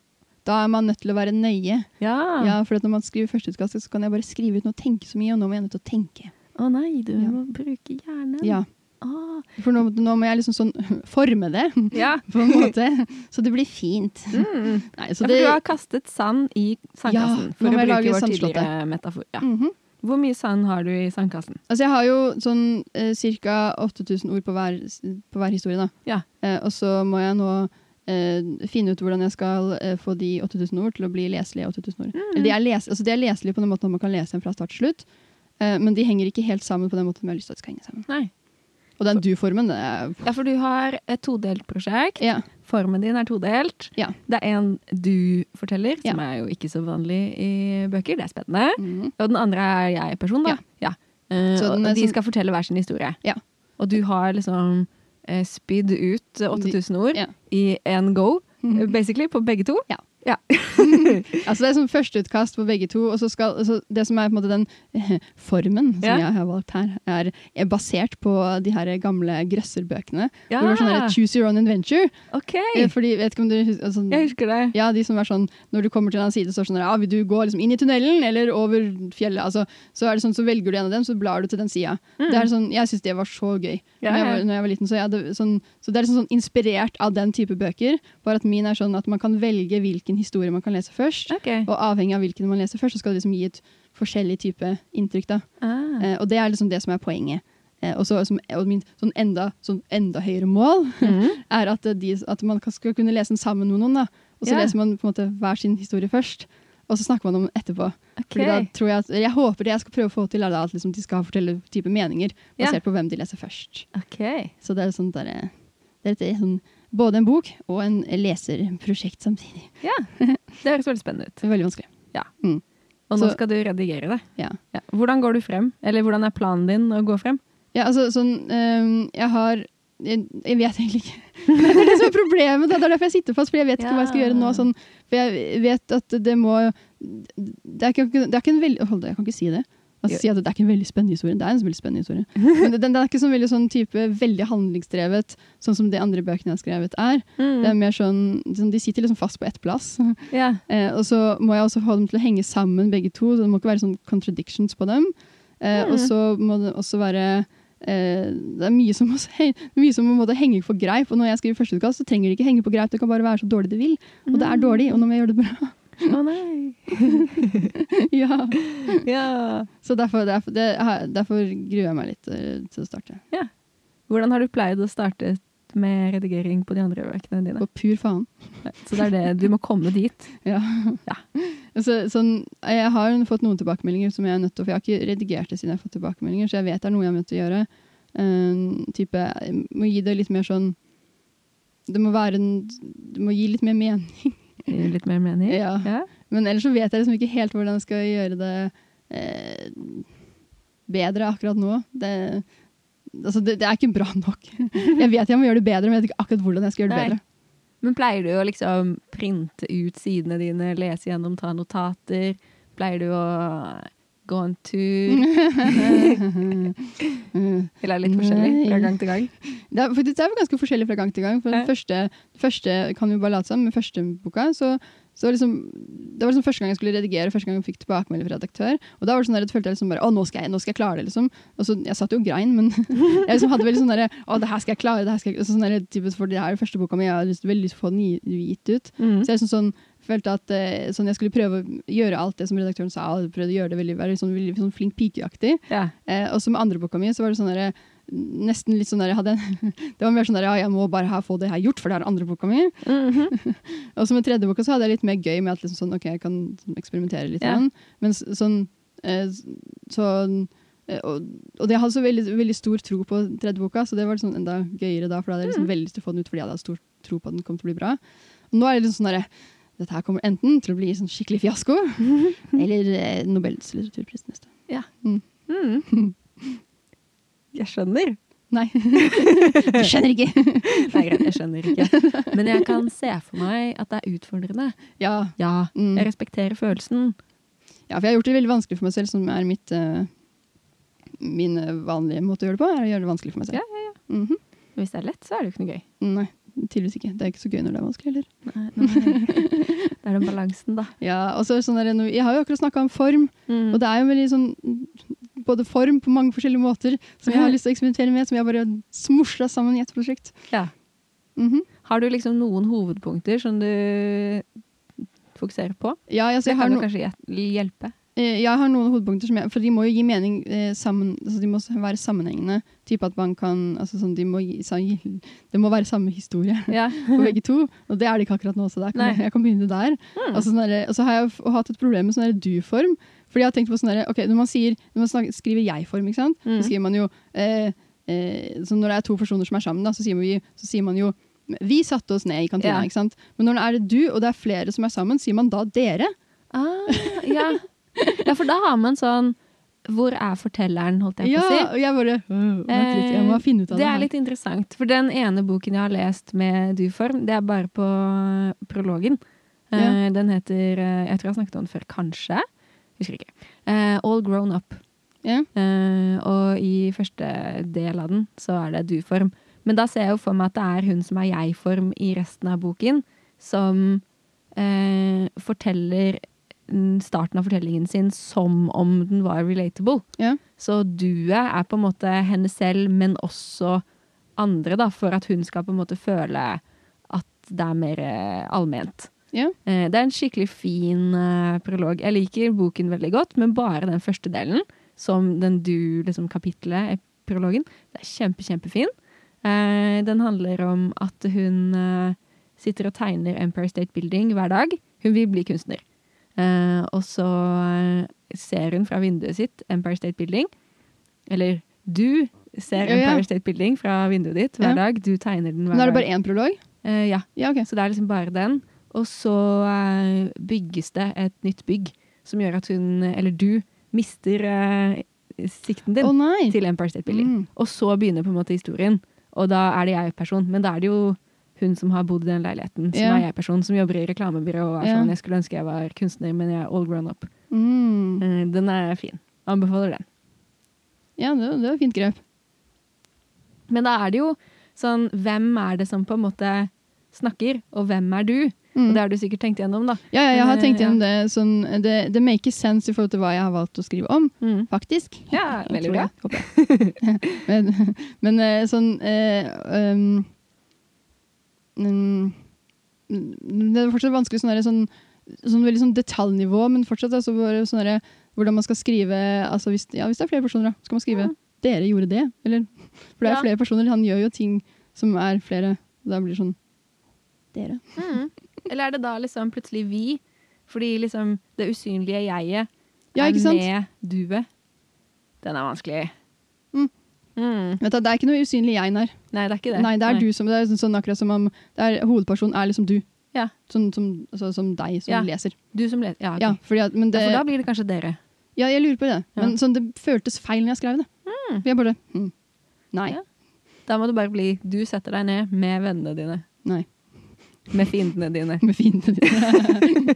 [SPEAKER 2] da er man nødt til å være nøye.
[SPEAKER 1] Ja.
[SPEAKER 2] Ja, for at når man skriver førsteutkastet, så kan jeg bare skrive uten å tenke så mye, og nå må jeg nødt til å tenke.
[SPEAKER 1] Å nei, du
[SPEAKER 2] Ja.
[SPEAKER 1] må bruke hjernen.
[SPEAKER 2] Ja,
[SPEAKER 1] Ah.
[SPEAKER 2] For nå, nå må jeg liksom sånn forme det,
[SPEAKER 1] Ja.
[SPEAKER 2] på en måte. Så det blir fint.
[SPEAKER 1] Mm.
[SPEAKER 2] Nei, så
[SPEAKER 1] ja, for
[SPEAKER 2] det
[SPEAKER 1] du har kastet sand i sandkassen,
[SPEAKER 2] Ja,
[SPEAKER 1] for å
[SPEAKER 2] nå må jeg
[SPEAKER 1] bruke
[SPEAKER 2] lage
[SPEAKER 1] vår
[SPEAKER 2] sandslottet.
[SPEAKER 1] tidligere metafor. Ja.
[SPEAKER 2] Mhm.
[SPEAKER 1] Hvor mye sand har du i sandkassen?
[SPEAKER 2] Altså Jeg har jo sånn eh, ca. 8000 ord på hver, på hver historie. da.
[SPEAKER 1] Ja.
[SPEAKER 2] Eh, og så må jeg nå eh, finne ut hvordan jeg skal eh, få de 8000 ord til å bli leselige. 8000 ord. Eller De, er les, altså de er leselige på den måten at man kan lese dem fra start til slutt, eh, men de henger ikke helt sammen på den måten vi har lyst til at de skal henge sammen.
[SPEAKER 1] Nei.
[SPEAKER 2] Og den du-formen, det er
[SPEAKER 1] Ja, for du har et todelt prosjekt.
[SPEAKER 2] ja,
[SPEAKER 1] Formen din er todelt.
[SPEAKER 2] ja.
[SPEAKER 1] Det er en du forteller, som
[SPEAKER 2] Ja.
[SPEAKER 1] er jo ikke så vanlig i bøker. Det er spennende.
[SPEAKER 2] Mhm.
[SPEAKER 1] Og den andre er jeg-person, da. Ja. Eh,
[SPEAKER 2] Så den
[SPEAKER 1] og
[SPEAKER 2] er
[SPEAKER 1] de
[SPEAKER 2] sånn-
[SPEAKER 1] skal fortelle hver sin historie.
[SPEAKER 2] Ja.
[SPEAKER 1] Og du har liksom eh, spydd ut 8000 ord
[SPEAKER 2] Ja.
[SPEAKER 1] i én go,
[SPEAKER 2] Mhm.
[SPEAKER 1] basically, på begge to.
[SPEAKER 2] Ja.
[SPEAKER 1] ja.
[SPEAKER 2] Altså Det er sånn førsteutkast på begge to. Og så skal, altså det som er på en måte den eh, formen som
[SPEAKER 1] Ja.
[SPEAKER 2] jeg har valgt her, er, er basert på de her gamle grøsserbøkene.
[SPEAKER 1] Ja.
[SPEAKER 2] Hvor det var sånn her, Choose your own adventure.
[SPEAKER 1] OK!
[SPEAKER 2] Eh, Fordi, vet ikke om dere hus- altså,
[SPEAKER 1] Jeg husker det.
[SPEAKER 2] ja, de som er sånn, Når du kommer til en annen side, så er det sånn ja, vil du gå liksom inn i tunnelen eller over fjellet. Altså, så er det sånn, så velger du en av dem, så blar du til den sida.
[SPEAKER 1] Mm.
[SPEAKER 2] Sånn, jeg syns det var så gøy.
[SPEAKER 1] Ja,
[SPEAKER 2] Når, jeg
[SPEAKER 1] ja.
[SPEAKER 2] var, når jeg var liten, så, jeg hadde, sånn, så Det er liksom sånn inspirert av den type bøker. Bare at min er sånn at man kan velge hvilken historie man kan lese først.
[SPEAKER 1] Ok.
[SPEAKER 2] Og avhengig av hvilken man leser først, så skal det liksom gi et forskjellig type inntrykk. da.
[SPEAKER 1] Ah.
[SPEAKER 2] Eh, og det er liksom det som er poenget. Eh, og så som- og min sånn enda, sånn enda høyere mål
[SPEAKER 1] Mhm.
[SPEAKER 2] er at, eh, de, at man kan- skal kunne lese den sammen med noen. da. Og så
[SPEAKER 1] Ja.
[SPEAKER 2] leser man på en måte hver sin historie først, og så snakker man om den etterpå. Fordi da
[SPEAKER 1] Ok.
[SPEAKER 2] tror Jeg at, jeg håper det jeg skal prøve å få til, er da at liksom de skal ha forskjellige typer meninger
[SPEAKER 1] Ja.
[SPEAKER 2] basert på hvem de leser først.
[SPEAKER 1] Ok.
[SPEAKER 2] Så det er sånn der, eh, det er et, sånn, både en bok og en leserprosjekt samtidig.
[SPEAKER 1] Ja. Det høres veldig spennende ut.
[SPEAKER 2] Det er veldig vanskelig.
[SPEAKER 1] Ja.
[SPEAKER 2] Mm.
[SPEAKER 1] Og nå
[SPEAKER 2] Så-
[SPEAKER 1] skal du redigere det.
[SPEAKER 2] Ja.
[SPEAKER 1] Ja. Hvordan går du frem? Eller hvordan er planen din å gå frem?
[SPEAKER 2] Ja, altså sånn øhm, Jeg har jeg, jeg vet egentlig ikke. Det er det som er problemet. da. Det er derfor jeg sitter fast, for jeg vet ikke hva jeg skal gjøre nå. Sånn, for jeg vet at det må Det er ikke, det er ikke en veldig Hold da, jeg kan ikke si det. Altså, si at det er ikke en veldig spennende historie. Det er en veldig spennende historie. Men den, den er ikke sånn veldig sånn type veldig handlingsdrevet, sånn som de andre bøkene jeg har skrevet er. Det er mer sånn, sånn De sitter liksom fast på ett plass.
[SPEAKER 1] Ja.
[SPEAKER 2] Eh, og så må jeg også få dem til å henge sammen, begge to. Så det må ikke være sånn contradictions på dem. Eh,
[SPEAKER 1] Mm.
[SPEAKER 2] Og så må det også være eh, Det er mye som, må, he- mye som må måtte henge på greip. Og når jeg skriver førsteutkast, så trenger det ikke henge på greip. Det kan bare være så dårlig det vil. Og
[SPEAKER 1] Mm.
[SPEAKER 2] det er dårlig, og nå må jeg gjøre det bra.
[SPEAKER 1] Å nei.
[SPEAKER 2] ja.
[SPEAKER 1] Ja.
[SPEAKER 2] Så derfor, derfor, det, her- derfor gruer jeg meg litt eh, til å starte.
[SPEAKER 1] Hvordan har du pleid å starte med redigering på de andre bøkene dine?
[SPEAKER 2] På pur faen.
[SPEAKER 1] Så det er det. Du må komme dit.
[SPEAKER 2] Ja.
[SPEAKER 1] Ja.
[SPEAKER 2] Så, sånn, jeg har jo fått noen tilbakemeldinger, som jeg er nødt til, for jeg har ikke redigert det siden jeg har fått tilbakemeldinger, så jeg vet det er noe jeg er nødt til å gjøre. Um, type, jeg må gi det litt mer sånn Det må være en Det må gi litt mer mening.
[SPEAKER 1] Gir Litt mer mening.
[SPEAKER 2] Ja.
[SPEAKER 1] Ja.
[SPEAKER 2] Men ellers så vet jeg liksom ikke helt hvordan jeg skal gjøre det eh, bedre akkurat nå. Det, altså, det, det er ikke bra nok. Jeg vet jeg må gjøre det bedre, men jeg vet ikke akkurat hvordan jeg skal gjøre det
[SPEAKER 1] Nei.
[SPEAKER 2] bedre.
[SPEAKER 1] Men pleier du å liksom printe ut sidene dine, lese gjennom, ta notater? Pleier du å gå en tur. Vil være litt forskjellig fra
[SPEAKER 2] Nei.
[SPEAKER 1] gang til gang.
[SPEAKER 2] Det er, faktisk, det er jo ganske forskjellig fra gang til gang. For den
[SPEAKER 1] Ja.
[SPEAKER 2] første, første kan vi jo bare late som, men første boka så, så var liksom, Det var liksom første gang jeg skulle redigere, første gang jeg fikk tilbakemelding fra redaktør. Og da var det sånn der, at jeg følte jeg liksom bare, å, nå skal jeg, nå skal jeg klare det. liksom. Og så, Jeg satt jo og grein, men jeg liksom hadde veldig sånn derre Å, det her skal jeg klare. det her skal jeg, altså, sånn der, typisk, For det er jo første boka mi, jeg har lyst, veldig lyst til å få den gi- gitt ut.
[SPEAKER 1] Mm.
[SPEAKER 2] Så jeg liksom sånn, følte at eh, sånn, jeg skulle prøve å gjøre alt det som redaktøren sa, og prøvde å gjøre det veldig, være sånn, veldig sånn flink pikeaktig.
[SPEAKER 1] Ja.
[SPEAKER 2] Eh, og så med andre boka mi så var det sånn der, nesten litt sånn der, jeg hadde, en- Det var mer sånn der, ja, jeg må bare her få det her gjort, for det er den andre boka mi.
[SPEAKER 1] Mhm.
[SPEAKER 2] Og så med tredje boka så hadde jeg litt mer gøy med at liksom sånn, ok, jeg kan sånn eksperimentere litt.
[SPEAKER 1] Ja.
[SPEAKER 2] grann. Men s- sånn, eh, s- sånn eh, og, og jeg hadde så veldig, veldig stor tro på tredje boka, så det var sånn enda gøyere da. For da hadde jeg liksom veldig lyst til å få den ut fordi jeg hadde stor tro på at den kom til å bli bra. Og nå er det liksom sånn derre Dette her kommer enten til å bli sånn skikkelig fiasko,
[SPEAKER 1] Mm-hmm.
[SPEAKER 2] eller eh, Nobels litteraturpris neste.
[SPEAKER 1] Mm. Jeg skjønner.
[SPEAKER 2] Nei. Jeg skjønner ikke.
[SPEAKER 1] Nei, greit, jeg skjønner ikke. Men jeg kan se for meg at det er utfordrende.
[SPEAKER 2] Ja,
[SPEAKER 1] Ja,
[SPEAKER 2] Mm.
[SPEAKER 1] jeg respekterer følelsen.
[SPEAKER 2] Ja, for jeg har gjort det veldig vanskelig for meg selv, som er mitt, eh, min eh, vanlige måte å gjøre det på. er å gjøre det vanskelig for meg selv.
[SPEAKER 1] Ja,
[SPEAKER 2] Mhm.
[SPEAKER 1] Men hvis det er lett, så er det jo ikke noe gøy.
[SPEAKER 2] Nei, tydeligvis ikke. Det er ikke så gøy når det er vanskelig heller.
[SPEAKER 1] Nei, nei. Det er den balansen, da.
[SPEAKER 2] Ja, og så er det sånn der, nå- Jeg har jo akkurat snakka om form,
[SPEAKER 1] Mm.
[SPEAKER 2] og det er jo veldig sånn både form på mange forskjellige måter som jeg har lyst til å eksperimentere med, som jeg bare smusla sammen i ett prosjekt.
[SPEAKER 1] Ja.
[SPEAKER 2] Mhm.
[SPEAKER 1] Har du liksom noen hovedpunkter som du fokuserer på?
[SPEAKER 2] Ja, altså,
[SPEAKER 1] Det
[SPEAKER 2] jeg, har
[SPEAKER 1] kan jo
[SPEAKER 2] no,
[SPEAKER 1] kanskje hjel- hjelpe.
[SPEAKER 2] eh, jeg har noen hovedpunkter, som jeg, for de må jo gi mening eh, sammen altså, De må være sammenhengende. Type at man kan altså, sånn, de må gi, sa- gi, Det må være samme historie.
[SPEAKER 1] Ja.
[SPEAKER 2] på begge to. Og det er det ikke akkurat nå, så der kan
[SPEAKER 1] Mhm. Nei.
[SPEAKER 2] jeg, jeg kan begynne der.
[SPEAKER 1] Mm.
[SPEAKER 2] Og så sånn derre- og så har jeg f- hatt et problem med sånn derre du-form. Fordi jeg har tenkt på sånn derre, ok, Når man, sier, når man snak- skriver jeg-form, ikke sant?
[SPEAKER 1] Mm.
[SPEAKER 2] så skriver man jo eh, eh, så Når det er to personer som er sammen, da, så, sier vi, så sier man jo vi satte oss ned i kantina.
[SPEAKER 1] Ja.
[SPEAKER 2] ikke sant? Men når det er du og det er flere som er sammen, sier man da dere?
[SPEAKER 1] Ah, ja. ja, for da har man sånn Hvor er fortelleren, holdt jeg
[SPEAKER 2] Ja,
[SPEAKER 1] på å si.
[SPEAKER 2] og jeg bare øh, vent litt, Jeg må finne ut
[SPEAKER 1] det
[SPEAKER 2] av det.
[SPEAKER 1] er
[SPEAKER 2] her.
[SPEAKER 1] litt interessant, for den ene boken jeg har lest med du-form, det er bare på prologen. Eh, Den heter eh, Jeg tror jeg har snakket om den før, kanskje. Husker ikke. Eh, All Grown Up.
[SPEAKER 2] Ja.
[SPEAKER 1] Eh, og i første del av den så er det du-form. Men da ser jeg jo for meg at det er hun som er jeg-form i resten av boken, som eh, forteller mm, starten av fortellingen sin som om den var relatable.
[SPEAKER 2] Ja.
[SPEAKER 1] Så duet er på en måte henne selv, men også andre, da, for at hun skal på en måte føle at det er mer eh, allment.
[SPEAKER 2] Ja.
[SPEAKER 1] Eh, det er en skikkelig fin eh, prolog. Jeg liker boken veldig godt, men bare den første delen, som den du-kapitlet, prologen, det er kjempe, kjempefin. Eh, den handler om at hun eh, sitter og tegner Empire State Building hver dag. Hun vil bli kunstner. Eh, og så eh, ser hun fra vinduet sitt Empire State Building. Eller du ser
[SPEAKER 2] Ja, ja.
[SPEAKER 1] Empire State Building fra vinduet ditt hver
[SPEAKER 2] Ja.
[SPEAKER 1] dag. Du tegner den hver
[SPEAKER 2] Men er
[SPEAKER 1] dag.
[SPEAKER 2] det bare én prolog?
[SPEAKER 1] Eh, ja.
[SPEAKER 2] Ja, ok.
[SPEAKER 1] Så det er liksom bare den. Og så eh, bygges det et nytt bygg som gjør at hun, eller du, mister eh, sikten
[SPEAKER 2] Å
[SPEAKER 1] din
[SPEAKER 2] nei!
[SPEAKER 1] til Empire State Building.
[SPEAKER 2] Mm.
[SPEAKER 1] Og så begynner på en måte historien. Og da er det jeg-person, men da er det jo hun som har bodd i den leiligheten, som
[SPEAKER 2] Ja.
[SPEAKER 1] er jeg-person, som jobber i reklamebyrå og er
[SPEAKER 2] Ja.
[SPEAKER 1] sånn 'Jeg skulle ønske jeg var kunstner, men jeg er all grown up'.
[SPEAKER 2] Mm.
[SPEAKER 1] Eh, Den er fin. Anbefaler den.
[SPEAKER 2] Ja, det, det var fint grep.
[SPEAKER 1] Men da er det jo sånn Hvem er det som på en måte snakker, og hvem er du?
[SPEAKER 2] Mm.
[SPEAKER 1] Og det har du sikkert tenkt gjennom, da.
[SPEAKER 2] Ja, ja, jeg har
[SPEAKER 1] Eh,
[SPEAKER 2] tenkt gjennom det. Sånn, det. Det makes sense i forhold til hva jeg har valgt å skrive om,
[SPEAKER 1] Mm.
[SPEAKER 2] faktisk.
[SPEAKER 1] Ja,
[SPEAKER 2] Jeg
[SPEAKER 1] veldig
[SPEAKER 2] tror
[SPEAKER 1] bra.
[SPEAKER 2] det, håper jeg. men, men eh, sånn eh, um, mm, Det er fortsatt vanskelig sånn, derre sånn, sånn veldig sånn detaljnivå, men fortsatt altså, bare sånn derre hvordan man skal skrive altså hvis, ja, hvis det er flere personer, da, skal man skrive 'dere gjorde det'. Eller, for det er
[SPEAKER 1] Ja.
[SPEAKER 2] flere personer. Han gjør jo ting som er flere. og Da blir det sånn 'dere'.
[SPEAKER 1] Mm. Eller er det da liksom plutselig vi? Fordi liksom det usynlige jeget
[SPEAKER 2] Ja,
[SPEAKER 1] er
[SPEAKER 2] ikke sant?
[SPEAKER 1] med duet. Den er vanskelig.
[SPEAKER 2] Mm.
[SPEAKER 1] Mm.
[SPEAKER 2] Vet du, det er ikke noe usynlig jeg her.
[SPEAKER 1] Nei, det er ikke det.
[SPEAKER 2] Nei, det er du som det er sånn, sånn akkurat som om det er, Hovedpersonen er liksom du.
[SPEAKER 1] Ja.
[SPEAKER 2] Sånn som, altså, som deg som
[SPEAKER 1] Ja.
[SPEAKER 2] leser.
[SPEAKER 1] Du som leser. Ja, ok.
[SPEAKER 2] Ja, fordi at, men
[SPEAKER 1] ja,
[SPEAKER 2] det,
[SPEAKER 1] for
[SPEAKER 2] ja,
[SPEAKER 1] da blir det kanskje dere.
[SPEAKER 2] jeg lurer på det.
[SPEAKER 1] Ja. Mm.
[SPEAKER 2] Men sånn, det føltes feil når jeg skrev det. For jeg bare hm, Nei.
[SPEAKER 1] Ja. Da må det bare bli du setter deg ned med vennene dine.
[SPEAKER 2] Nei.
[SPEAKER 1] Med fiendene dine.
[SPEAKER 2] Med fiendene dine.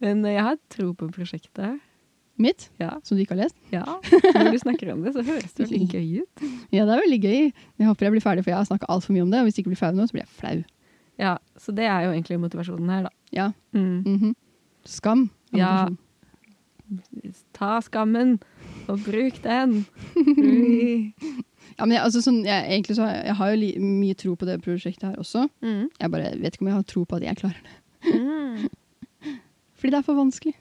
[SPEAKER 1] Men eh, jeg har tro på prosjektet.
[SPEAKER 2] Mitt,
[SPEAKER 1] Ja.
[SPEAKER 2] som du ikke har lest.
[SPEAKER 1] ja. Når du snakker om det, så høres det veldig gøy ut.
[SPEAKER 2] Ja, det er veldig gøy. Jeg håper jeg blir ferdig, for jeg har snakka altfor mye om det. Og hvis jeg ikke blir ferdig nå, så blir jeg flau.
[SPEAKER 1] Ja, Så det er jo egentlig motivasjonen her, da. Mm.
[SPEAKER 2] Ja. mhm. Skam. er
[SPEAKER 1] Ja.
[SPEAKER 2] motivasjon.
[SPEAKER 1] Ta skammen, og bruk den. Ui.
[SPEAKER 2] ja men jeg, altså, sånn, jeg, egentlig så har jeg, jeg har jo li mye tro på det prosjektet her også.
[SPEAKER 1] Mm.
[SPEAKER 2] Jeg bare vet ikke om jeg har tro på at jeg klarer det.
[SPEAKER 1] Mm.
[SPEAKER 2] Fordi det er for vanskelig.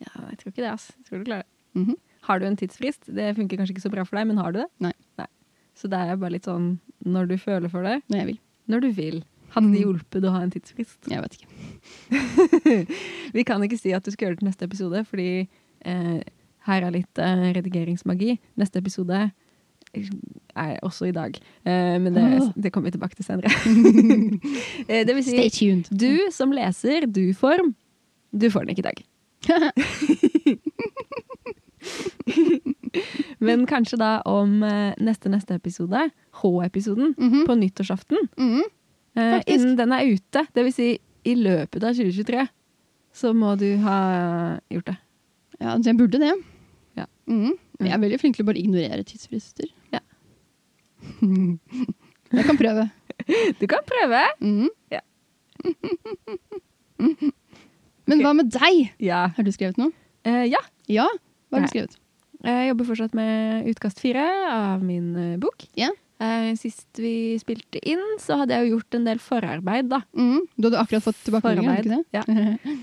[SPEAKER 1] Ja, jeg tror ikke det, altså. Jeg tror du klarer det.
[SPEAKER 2] Mhm.
[SPEAKER 1] Har du en tidsfrist? Det funker kanskje ikke så bra for deg, men har du det?
[SPEAKER 2] Nei.
[SPEAKER 1] Så det er bare litt sånn når du føler for det,
[SPEAKER 2] Når jeg vil.
[SPEAKER 1] når du vil. Hadde det
[SPEAKER 2] Mm.
[SPEAKER 1] hjulpet å ha en tidsfrist?
[SPEAKER 2] Jeg vet ikke.
[SPEAKER 1] Vi kan ikke si at du skal gjøre det til neste episode, fordi eh, her er litt eh, redigeringsmagi. Neste episode eh, er også i dag, eh, men det, det kommer vi tilbake til senere. eh, det vil si,
[SPEAKER 2] Ah. Stay tuned.
[SPEAKER 1] du som leser du-form, du får den ikke i dag. Men kanskje da om eh, neste neste episode, H-episoden,
[SPEAKER 2] Mhm.
[SPEAKER 1] på nyttårsaften.
[SPEAKER 2] Mhm.
[SPEAKER 1] Eh,
[SPEAKER 2] Faktisk.
[SPEAKER 1] innen den er ute, dvs. Si, i løpet av 2023, så må du ha gjort det.
[SPEAKER 2] Ja, så jeg burde det.
[SPEAKER 1] Ja.
[SPEAKER 2] Mhm. Men Jeg er veldig flink til å bare ignorere tidsfrister.
[SPEAKER 1] Ja.
[SPEAKER 2] jeg kan prøve.
[SPEAKER 1] Du kan prøve!
[SPEAKER 2] Mhm.
[SPEAKER 1] Ja.
[SPEAKER 2] Men
[SPEAKER 1] Ok.
[SPEAKER 2] hva med deg?
[SPEAKER 1] Ja.
[SPEAKER 2] Har du skrevet noe?
[SPEAKER 1] Eh, ja.
[SPEAKER 2] Ja, hva har
[SPEAKER 1] Nei.
[SPEAKER 2] du skrevet?
[SPEAKER 1] Jeg jobber fortsatt med utkast fire av min eh, bok.
[SPEAKER 2] Ja.
[SPEAKER 1] Eh, sist vi spilte inn, så hadde jeg jo gjort en del forarbeid, da.
[SPEAKER 2] Mhm. Du hadde akkurat fått tilbakemeldinger, hadde du ikke det?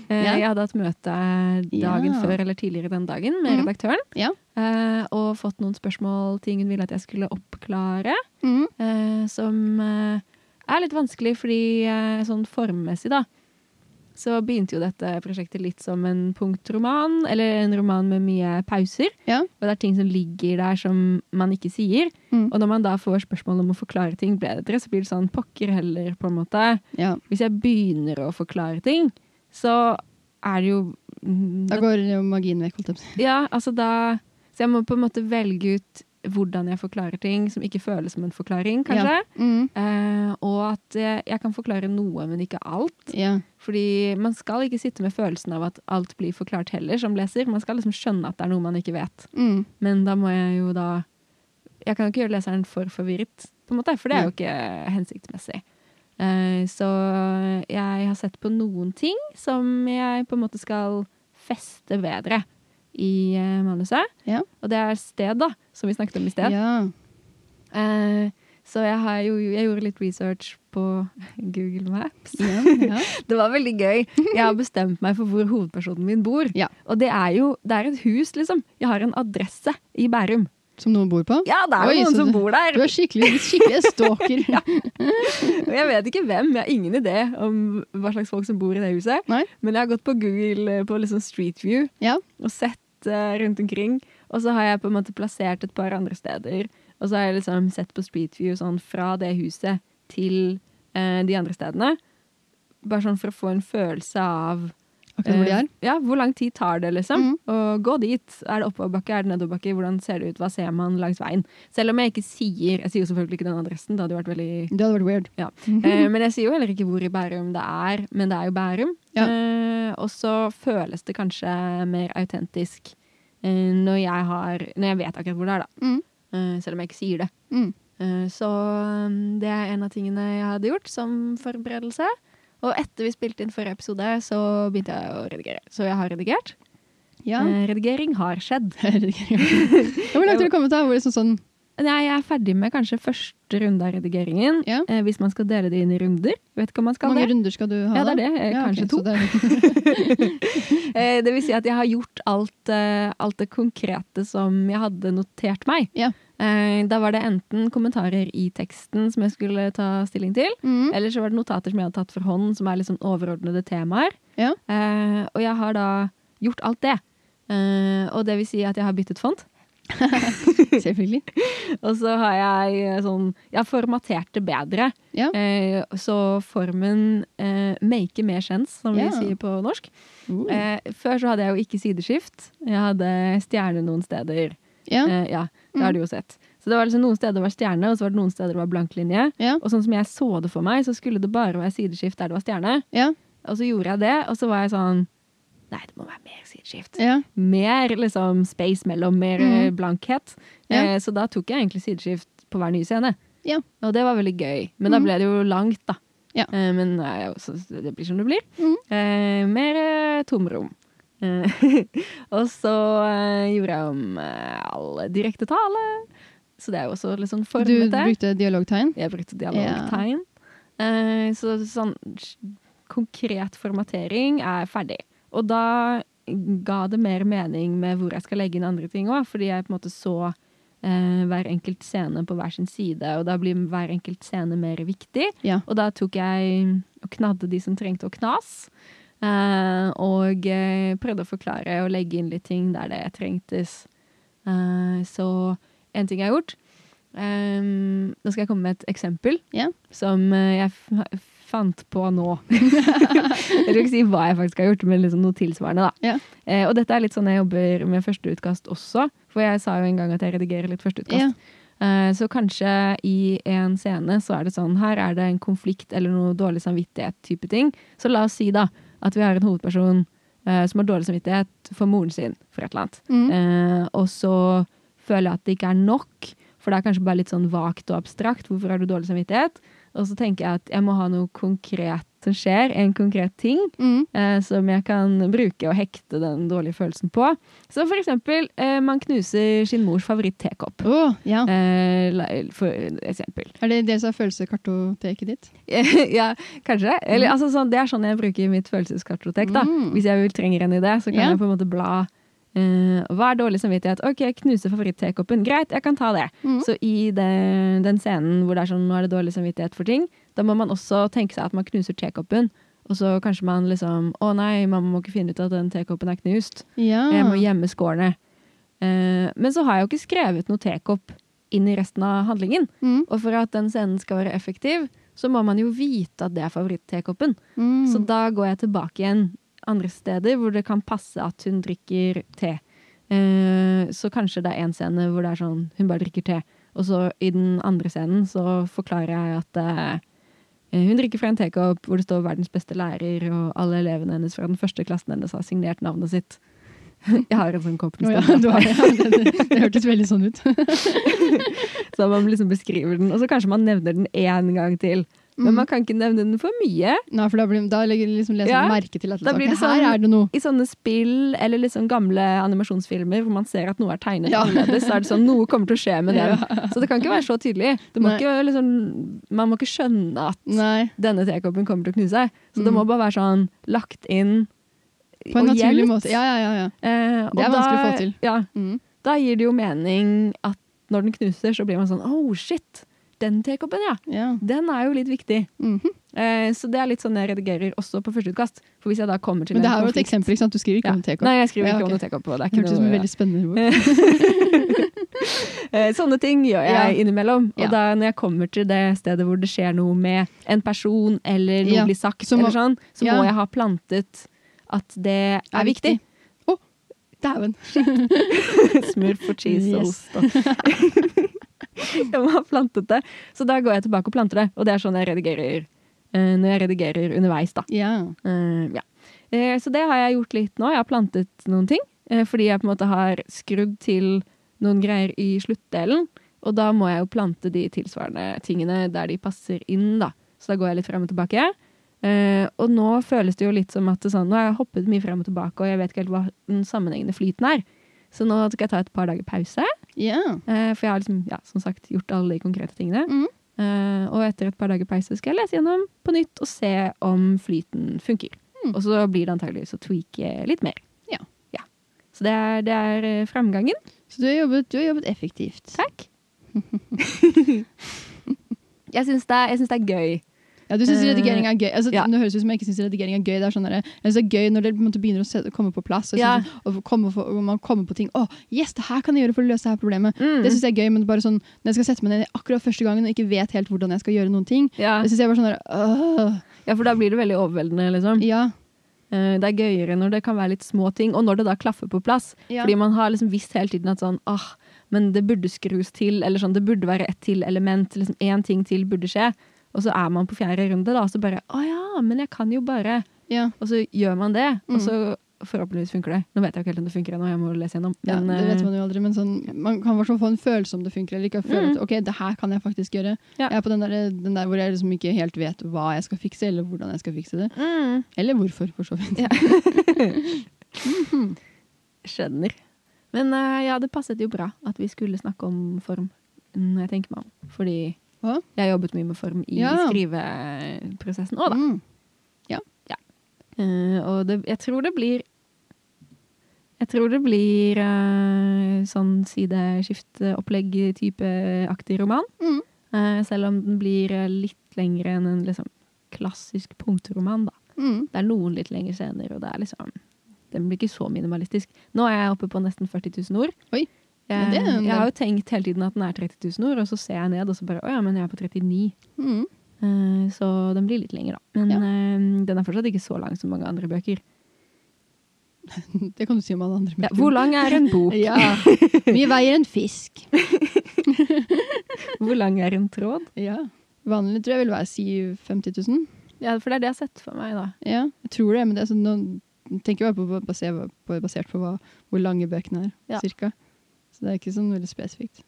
[SPEAKER 1] Ja. Eh,
[SPEAKER 2] Ja.
[SPEAKER 1] Jeg hadde hatt møte dagen
[SPEAKER 2] Ja.
[SPEAKER 1] før eller tidligere den dagen med
[SPEAKER 2] Mhm.
[SPEAKER 1] redaktøren.
[SPEAKER 2] Ja.
[SPEAKER 1] eh, og fått noen spørsmål, ting hun ville at jeg skulle oppklare.
[SPEAKER 2] Mhm.
[SPEAKER 1] eh, som eh, er litt vanskelig, fordi eh, sånn formmessig, da, så begynte jo dette prosjektet litt som en punktroman, eller en roman med mye pauser.
[SPEAKER 2] Ja.
[SPEAKER 1] Og det er ting som ligger der som man ikke sier.
[SPEAKER 2] Mhm.
[SPEAKER 1] Og når man da får spørsmål om å forklare ting bedre, så blir det sånn pokker heller, på en måte.
[SPEAKER 2] ja.
[SPEAKER 1] Hvis jeg begynner å forklare ting, så er det jo Mm,
[SPEAKER 2] Da går jo magien vekk, holdt jeg på å si.
[SPEAKER 1] ja, altså da Så jeg må på en måte velge ut hvordan jeg forklarer ting som ikke føles som en forklaring, kanskje.
[SPEAKER 2] Mhm.
[SPEAKER 1] Eh, og at eh, jeg kan forklare noe, men ikke alt.
[SPEAKER 2] Ja.
[SPEAKER 1] Fordi man skal ikke sitte med følelsen av at alt blir forklart heller, som leser. Man skal liksom skjønne at det er noe man ikke vet.
[SPEAKER 2] Mhm.
[SPEAKER 1] Men da må jeg jo da Jeg kan jo ikke gjøre leseren for forvirret, på en måte, for det er jo ikke hensiktsmessig. Eh, så jeg har sett på noen ting som jeg på en måte skal feste bedre i eh, manuset.
[SPEAKER 2] Ja.
[SPEAKER 1] Og det er sted, da, som vi snakket om i sted.
[SPEAKER 2] ja.
[SPEAKER 1] Eh, så jeg, har jo, jeg gjorde litt research på Google Maps.
[SPEAKER 2] Ja, ja.
[SPEAKER 1] Det var veldig gøy. Jeg har bestemt meg for hvor hovedpersonen min bor.
[SPEAKER 2] Ja.
[SPEAKER 1] Og det er jo det er et hus, liksom. Jeg har en adresse i Bærum.
[SPEAKER 2] Som noen bor på?
[SPEAKER 1] Ja, det er
[SPEAKER 2] Oi,
[SPEAKER 1] jo noen
[SPEAKER 2] så
[SPEAKER 1] som
[SPEAKER 2] du-
[SPEAKER 1] bor
[SPEAKER 2] Du
[SPEAKER 1] der!
[SPEAKER 2] er skikkelig, skikkelig stalker.
[SPEAKER 1] Og jeg vet ikke hvem. Jeg har ingen idé om hva slags folk som bor i det huset.
[SPEAKER 2] Nei.
[SPEAKER 1] Men jeg har gått på Google eh, på liksom Street View
[SPEAKER 2] Ja.
[SPEAKER 1] og sett eh, rundt omkring. Og så har jeg på en måte plassert et par andre steder. Og så har jeg liksom sett på Street View sånn fra det huset til eh, de andre stedene. Bare sånn for å få en følelse av
[SPEAKER 2] Akkurat hvor de er.
[SPEAKER 1] eh, ja, hvor lang tid tar det, liksom?
[SPEAKER 2] Mhm.
[SPEAKER 1] Å gå dit. Er det oppoverbakke, er det nedoverbakke? Hvordan ser det ut? Hva ser man langs veien? Selv om jeg ikke sier Jeg sier jo selvfølgelig ikke den adressen, det hadde jo vært veldig
[SPEAKER 2] Det hadde vært weird.
[SPEAKER 1] ja. Eh, men jeg sier jo heller ikke hvor i Bærum det er, men det er jo Bærum.
[SPEAKER 2] Ja.
[SPEAKER 1] Eh, og så føles det kanskje mer autentisk eh, når, jeg har, når jeg vet akkurat hvor det er, da.
[SPEAKER 2] Mm.
[SPEAKER 1] Eh, selv om jeg ikke sier det.
[SPEAKER 2] Mm.
[SPEAKER 1] Eh, så um, det er en av tingene jeg hadde gjort som forberedelse. Og etter vi spilte inn forrige episode, så begynte jeg å redigere. Så jeg har redigert.
[SPEAKER 2] Ja.
[SPEAKER 1] Eh, redigering har skjedd.
[SPEAKER 2] Ja, Hvor langt har du kommet? da? Hvor det sånn, sånn
[SPEAKER 1] Nei, jeg er ferdig med kanskje første runde av redigeringen.
[SPEAKER 2] Ja.
[SPEAKER 1] Eh, hvis man skal dele det inn i runder. Vet ikke om man
[SPEAKER 2] Hvor
[SPEAKER 1] skal
[SPEAKER 2] mange
[SPEAKER 1] det.
[SPEAKER 2] runder skal du ha?
[SPEAKER 1] Ja, det er
[SPEAKER 2] da?
[SPEAKER 1] det. Eh,
[SPEAKER 2] Ja, ok,
[SPEAKER 1] Kanskje
[SPEAKER 2] så
[SPEAKER 1] to.
[SPEAKER 2] det er-
[SPEAKER 1] Eh, Det vil si at jeg har gjort alt, eh, alt det konkrete som jeg hadde notert meg.
[SPEAKER 2] Ja.
[SPEAKER 1] Eh, Da var det enten kommentarer i teksten som jeg skulle ta stilling til,
[SPEAKER 2] Mhm.
[SPEAKER 1] eller så var det notater som jeg hadde tatt for hånd, som er litt sånn overordnede temaer.
[SPEAKER 2] Ja.
[SPEAKER 1] Eh, Og jeg har da gjort alt det. Eh, Og det vil si at jeg har byttet font.
[SPEAKER 2] Selvfølgelig.
[SPEAKER 1] Og så har jeg eh, sånn Jeg har formatert det bedre.
[SPEAKER 2] Ja.
[SPEAKER 1] Eh, Så formen eh, make mer sense, som vi
[SPEAKER 2] Ja.
[SPEAKER 1] sier på norsk.
[SPEAKER 2] Uh.
[SPEAKER 1] Eh, før så hadde jeg jo ikke sideskift. Jeg hadde stjerne noen steder.
[SPEAKER 2] Ja. Mm.
[SPEAKER 1] Eh, ja, det har du jo sett. Så det var liksom noen steder det var stjerne, og så var det noen steder det var blank linje.
[SPEAKER 2] Ja.
[SPEAKER 1] Og sånn som jeg så det for meg, så skulle det bare være sideskift der det var stjerne.
[SPEAKER 2] Ja.
[SPEAKER 1] Og så gjorde jeg det, og så var jeg sånn Nei, det må være mer sideskift.
[SPEAKER 2] Ja.
[SPEAKER 1] Mer liksom space mellom, mer
[SPEAKER 2] Mhm.
[SPEAKER 1] eh, blankhet. Eh,
[SPEAKER 2] Ja.
[SPEAKER 1] så da tok jeg egentlig sideskift på hver nye scene.
[SPEAKER 2] Ja.
[SPEAKER 1] Og det var veldig gøy. Men da
[SPEAKER 2] Mhm.
[SPEAKER 1] ble det jo langt, da.
[SPEAKER 2] Ja.
[SPEAKER 1] Eh, men eh, så det blir som det blir.
[SPEAKER 2] Mhm.
[SPEAKER 1] Eh, mer eh, tomrom. Eh, og så eh, gjorde jeg om eh, all direkte tale. Så det er jo også litt sånn
[SPEAKER 2] Du
[SPEAKER 1] formete.
[SPEAKER 2] brukte dialogtegn?
[SPEAKER 1] Jeg brukte dialogtegn. Eh, så sånn s- konkret formatering er ferdig. Og da ga det mer mening med hvor jeg skal legge inn andre ting òg, fordi jeg på en måte så eh, hver enkelt scene på hver sin side, og da blir hver enkelt scene mer viktig.
[SPEAKER 2] Ja.
[SPEAKER 1] Og da tok jeg og knadde de som trengte å knas. eh, og eh, prøvde å forklare og legge inn litt ting der det trengtes. Eh, så en ting jeg har gjort ehm, Nå skal jeg komme med et eksempel
[SPEAKER 2] Ja.
[SPEAKER 1] som eh, jeg f fant på nå. jeg skal ikke si hva jeg faktisk har gjort, men liksom noe tilsvarende. da.
[SPEAKER 2] Ja.
[SPEAKER 1] Eh, og dette er litt sånn jeg jobber med førsteutkast også, for jeg sa jo en gang at jeg redigerer litt førsteutkast.
[SPEAKER 2] Ja.
[SPEAKER 1] Eh, Så kanskje i en scene så er det sånn Her er det en konflikt eller noe dårlig samvittighet type ting. Så la oss si da at vi har en hovedperson eh, som har dårlig samvittighet for moren sin for et eller annet.
[SPEAKER 2] Mm.
[SPEAKER 1] Eh, og så føler jeg at det ikke er nok, for det er kanskje bare litt sånn vagt og abstrakt. Hvorfor har du dårlig samvittighet? Og så tenker jeg at jeg må ha noe konkret som skjer, en konkret ting
[SPEAKER 2] Mm.
[SPEAKER 1] eh, som jeg kan bruke og hekte den dårlige følelsen på. Så for eksempel, eh, man knuser sin mors favoritt-tekopp.
[SPEAKER 2] Å, ja.
[SPEAKER 1] Eh, la- for eksempel.
[SPEAKER 2] Er det dere som har følelseskartoteket ditt?
[SPEAKER 1] ja, kanskje. Eller,
[SPEAKER 2] Mm.
[SPEAKER 1] altså, sånn, det er sånn jeg bruker mitt følelseskartotek. Da.
[SPEAKER 2] Mm.
[SPEAKER 1] Hvis jeg vil trenger en idé, så kan
[SPEAKER 2] Ja.
[SPEAKER 1] jeg på en måte bla. eh, hva er dårlig samvittighet? Ok, knuse favoritt-tekoppen. Greit, jeg kan ta det.
[SPEAKER 2] Mm.
[SPEAKER 1] Så i den, den scenen hvor det er sånn nå er det dårlig samvittighet for ting, da må man også tenke seg at man knuser tekoppen. Og så kanskje man liksom Å nei, mamma må ikke finne ut at den tekoppen er knust.
[SPEAKER 2] Ja.
[SPEAKER 1] Jeg må gjemme skårene. Eh, men så har jeg jo ikke skrevet noe tekopp inn i resten av handlingen.
[SPEAKER 2] Mm.
[SPEAKER 1] Og for at den scenen skal være effektiv, så må man jo vite at det er favoritt-tekoppen.
[SPEAKER 2] Mm.
[SPEAKER 1] Så da går jeg tilbake igjen andre steder hvor det kan passe at hun drikker te. Eh, så kanskje det er én scene hvor det er sånn hun bare drikker te. Og så i den andre scenen så forklarer jeg at eh, hun drikker fra en tekopp hvor det står 'verdens beste lærer', og alle elevene hennes fra den første klassen hennes har signert navnet sitt. Jeg har en sånn kopp
[SPEAKER 2] Å,
[SPEAKER 1] med
[SPEAKER 2] ja,
[SPEAKER 1] stempel.
[SPEAKER 2] du har, ja, det, det, det hørtes veldig sånn ut.
[SPEAKER 1] Så man liksom beskriver den, og så kanskje man nevner den én gang til. Men
[SPEAKER 2] Mm.
[SPEAKER 1] man kan ikke nevne den for mye.
[SPEAKER 2] Nei, for da, blir, da legger liksom leseren
[SPEAKER 1] Ja.
[SPEAKER 2] merke til at
[SPEAKER 1] Da blir
[SPEAKER 2] ok,
[SPEAKER 1] det sånn-
[SPEAKER 2] her er det noe.
[SPEAKER 1] I sånne spill eller liksom gamle animasjonsfilmer hvor man ser at noe er tegnet
[SPEAKER 2] Ja.
[SPEAKER 1] annerledes, så er det sånn noe kommer til å skje med den.
[SPEAKER 2] Ja.
[SPEAKER 1] Så det kan ikke være så tydelig. Det må
[SPEAKER 2] Nei.
[SPEAKER 1] ikke, liksom, man må ikke skjønne at
[SPEAKER 2] Nei,
[SPEAKER 1] denne tekoppen kommer til å knuse seg. Så det
[SPEAKER 2] Mm.
[SPEAKER 1] må bare være sånn lagt inn
[SPEAKER 2] på en
[SPEAKER 1] og
[SPEAKER 2] naturlig
[SPEAKER 1] gjemt.
[SPEAKER 2] måte. Ja, ja, ja. ja.
[SPEAKER 1] Eh, og
[SPEAKER 2] Det er
[SPEAKER 1] da-
[SPEAKER 2] vanskelig å få til.
[SPEAKER 1] Ja,
[SPEAKER 2] Mm.
[SPEAKER 1] da gir det jo mening at når den knuser, så blir man sånn oh shit, den tekoppen, ja.
[SPEAKER 2] ja.
[SPEAKER 1] Den er jo litt viktig.
[SPEAKER 2] Mhm.
[SPEAKER 1] Eh, så det er litt sånn jeg redigerer også på førsteutkast. For hvis jeg da kommer til
[SPEAKER 2] Men det
[SPEAKER 1] en
[SPEAKER 2] her var et
[SPEAKER 1] konflikt-
[SPEAKER 2] eksempel, ikke sant? Du skriver ikke
[SPEAKER 1] Ja.
[SPEAKER 2] om TK.
[SPEAKER 1] Nei, jeg skriver
[SPEAKER 2] Ja,
[SPEAKER 1] ikke
[SPEAKER 2] ok.
[SPEAKER 1] om noe tekopp. og Det er
[SPEAKER 2] Det
[SPEAKER 1] ikke
[SPEAKER 2] hørtes ut som
[SPEAKER 1] noe,
[SPEAKER 2] et veldig spennende ord.
[SPEAKER 1] Eh, Sånne ting gjør jeg
[SPEAKER 2] Ja.
[SPEAKER 1] innimellom. Og
[SPEAKER 2] Ja.
[SPEAKER 1] da når jeg kommer til det stedet hvor det skjer noe med en person, eller noe
[SPEAKER 2] Ja.
[SPEAKER 1] blir sagt,
[SPEAKER 2] Så må-
[SPEAKER 1] eller sånn, så
[SPEAKER 2] Ja.
[SPEAKER 1] må jeg ha plantet at det er, viktig.
[SPEAKER 2] Å, dæven.
[SPEAKER 1] Smør for cheese og
[SPEAKER 2] Yes.
[SPEAKER 1] ost. Og. jeg må ha plantet det. Så da går jeg tilbake og planter det. Og det er sånn jeg redigerer eh, når jeg redigerer underveis, da.
[SPEAKER 2] Ja.
[SPEAKER 1] Eh, ja. Eh, så det har jeg gjort litt nå. Jeg har plantet noen ting. eh, fordi jeg på en måte har skrudd til noen greier i sluttdelen. Og da må jeg jo plante de tilsvarende tingene der de passer inn, da. Så da går jeg litt frem og tilbake. Eh, og nå føles det jo litt som at det sånn, nå har jeg hoppet mye frem og tilbake, og jeg vet ikke helt hva den sammenhengende flyten er. Så nå skal jeg ta et par dager pause.
[SPEAKER 2] Ja.
[SPEAKER 1] eh, for jeg har liksom, ja, som sagt gjort alle de konkrete tingene.
[SPEAKER 2] Mm.
[SPEAKER 1] Eh, og etter et par dager pause skal jeg lese gjennom på nytt og se om flyten funker.
[SPEAKER 2] Mm.
[SPEAKER 1] Og så blir det antageligvis å tweake litt mer.
[SPEAKER 2] Ja.
[SPEAKER 1] Så det er, det er eh, fremgangen.
[SPEAKER 2] Så du har jobbet, du har jobbet effektivt.
[SPEAKER 1] Takk. jeg syns det, er- jeg syns det er gøy.
[SPEAKER 2] Ja, du syns
[SPEAKER 1] Eh,
[SPEAKER 2] redigering er gøy. Altså,
[SPEAKER 1] ja.
[SPEAKER 2] Nå høres det ut som jeg ikke syns redigering er gøy. Det er sånn der, jeg synes det er gøy når det på en måte begynner å se, komme på plass, og, jeg
[SPEAKER 1] Ja.
[SPEAKER 2] synes sånn, og, komme for, og man kommer på ting. Å, yes, det her kan jeg gjøre for å løse det her problemet.
[SPEAKER 1] Mm.
[SPEAKER 2] Det syns jeg er gøy, men bare sånn, når jeg skal sette meg ned akkurat første gangen og ikke vet helt hvordan jeg skal gjøre noen ting,
[SPEAKER 1] ja.
[SPEAKER 2] det syns jeg bare sånn der, «Åh,
[SPEAKER 1] ja, for da blir det veldig overveldende, liksom.
[SPEAKER 2] ja,
[SPEAKER 1] Eh, det er gøyere når det kan være litt små ting, og når det da klaffer på plass.
[SPEAKER 2] ja.
[SPEAKER 1] Fordi man har liksom visst hele tiden at sånn, ah, men det burde skrus til, eller sånn, det burde være ett til element, liksom én ting til burde skje. Og så er man på fjerde runde, da, og så bare Å ja, men jeg kan jo bare
[SPEAKER 2] ja.
[SPEAKER 1] Og så gjør man det,
[SPEAKER 2] Mm.
[SPEAKER 1] og så Forhåpentligvis funker det. Nå vet jeg jo ikke helt om det funker ennå, jeg må lese gjennom.
[SPEAKER 2] Ja,
[SPEAKER 1] Men,
[SPEAKER 2] det vet
[SPEAKER 1] eh,
[SPEAKER 2] man jo aldri, men sånn, man kan i hvert fall få en følelse om det funker eller ikke. og Føle
[SPEAKER 1] Mm.
[SPEAKER 2] at ok, det her kan jeg faktisk gjøre.
[SPEAKER 1] Ja.
[SPEAKER 2] Jeg er på den der, den der hvor jeg liksom ikke helt vet hva jeg skal fikse, eller hvordan jeg skal fikse det.
[SPEAKER 1] mm.
[SPEAKER 2] Eller hvorfor, for så vidt.
[SPEAKER 1] Ja. Skjønner. Men eh, ja, det passet jo bra at vi skulle snakke om form, når jeg tenker meg om. Fordi
[SPEAKER 2] Hva?
[SPEAKER 1] jeg jobbet mye med form i
[SPEAKER 2] Ja.
[SPEAKER 1] skriveprosessen òg, da.
[SPEAKER 2] Mm.
[SPEAKER 1] Eh, og det, jeg tror det blir Jeg tror det blir eh, sånn sideskifteopplegg-type-aktig roman.
[SPEAKER 2] Mm.
[SPEAKER 1] Eh, selv om den blir eh, litt lengre enn en liksom, klassisk punktroman, da.
[SPEAKER 2] Mm.
[SPEAKER 1] Det er noen litt lengre scener, og det er liksom Den blir ikke så minimalistisk. Nå er jeg oppe på nesten 40 000 ord.
[SPEAKER 2] Oi. Ja,
[SPEAKER 1] Jeg,
[SPEAKER 2] det er en del.
[SPEAKER 1] jeg har jo tenkt hele tiden at den er 30 000 ord, og så ser jeg ned, og så bare Å ja, men jeg er på 39.
[SPEAKER 2] Mm.
[SPEAKER 1] Eh, Så den blir litt lenger, da. Men
[SPEAKER 2] Ja.
[SPEAKER 1] eh, den er fortsatt ikke så lang som mange andre bøker.
[SPEAKER 2] Det kan du si om alle andre.
[SPEAKER 1] Ja, hvor lang er en bok?
[SPEAKER 2] Ja. Mye veier en fisk.
[SPEAKER 1] Hvor lang er en tråd?
[SPEAKER 2] Ja. Vanlig tror jeg vil være si 50 000.
[SPEAKER 1] Ja, for det er det jeg har sett for meg, da.
[SPEAKER 2] Ja, jeg tror det, men det er sånn, nå tenker jeg bare på, basert på, basert på hva, hvor lange bøkene er,
[SPEAKER 1] Ja.
[SPEAKER 2] cirka. Så det er ikke sånn veldig spesifikt.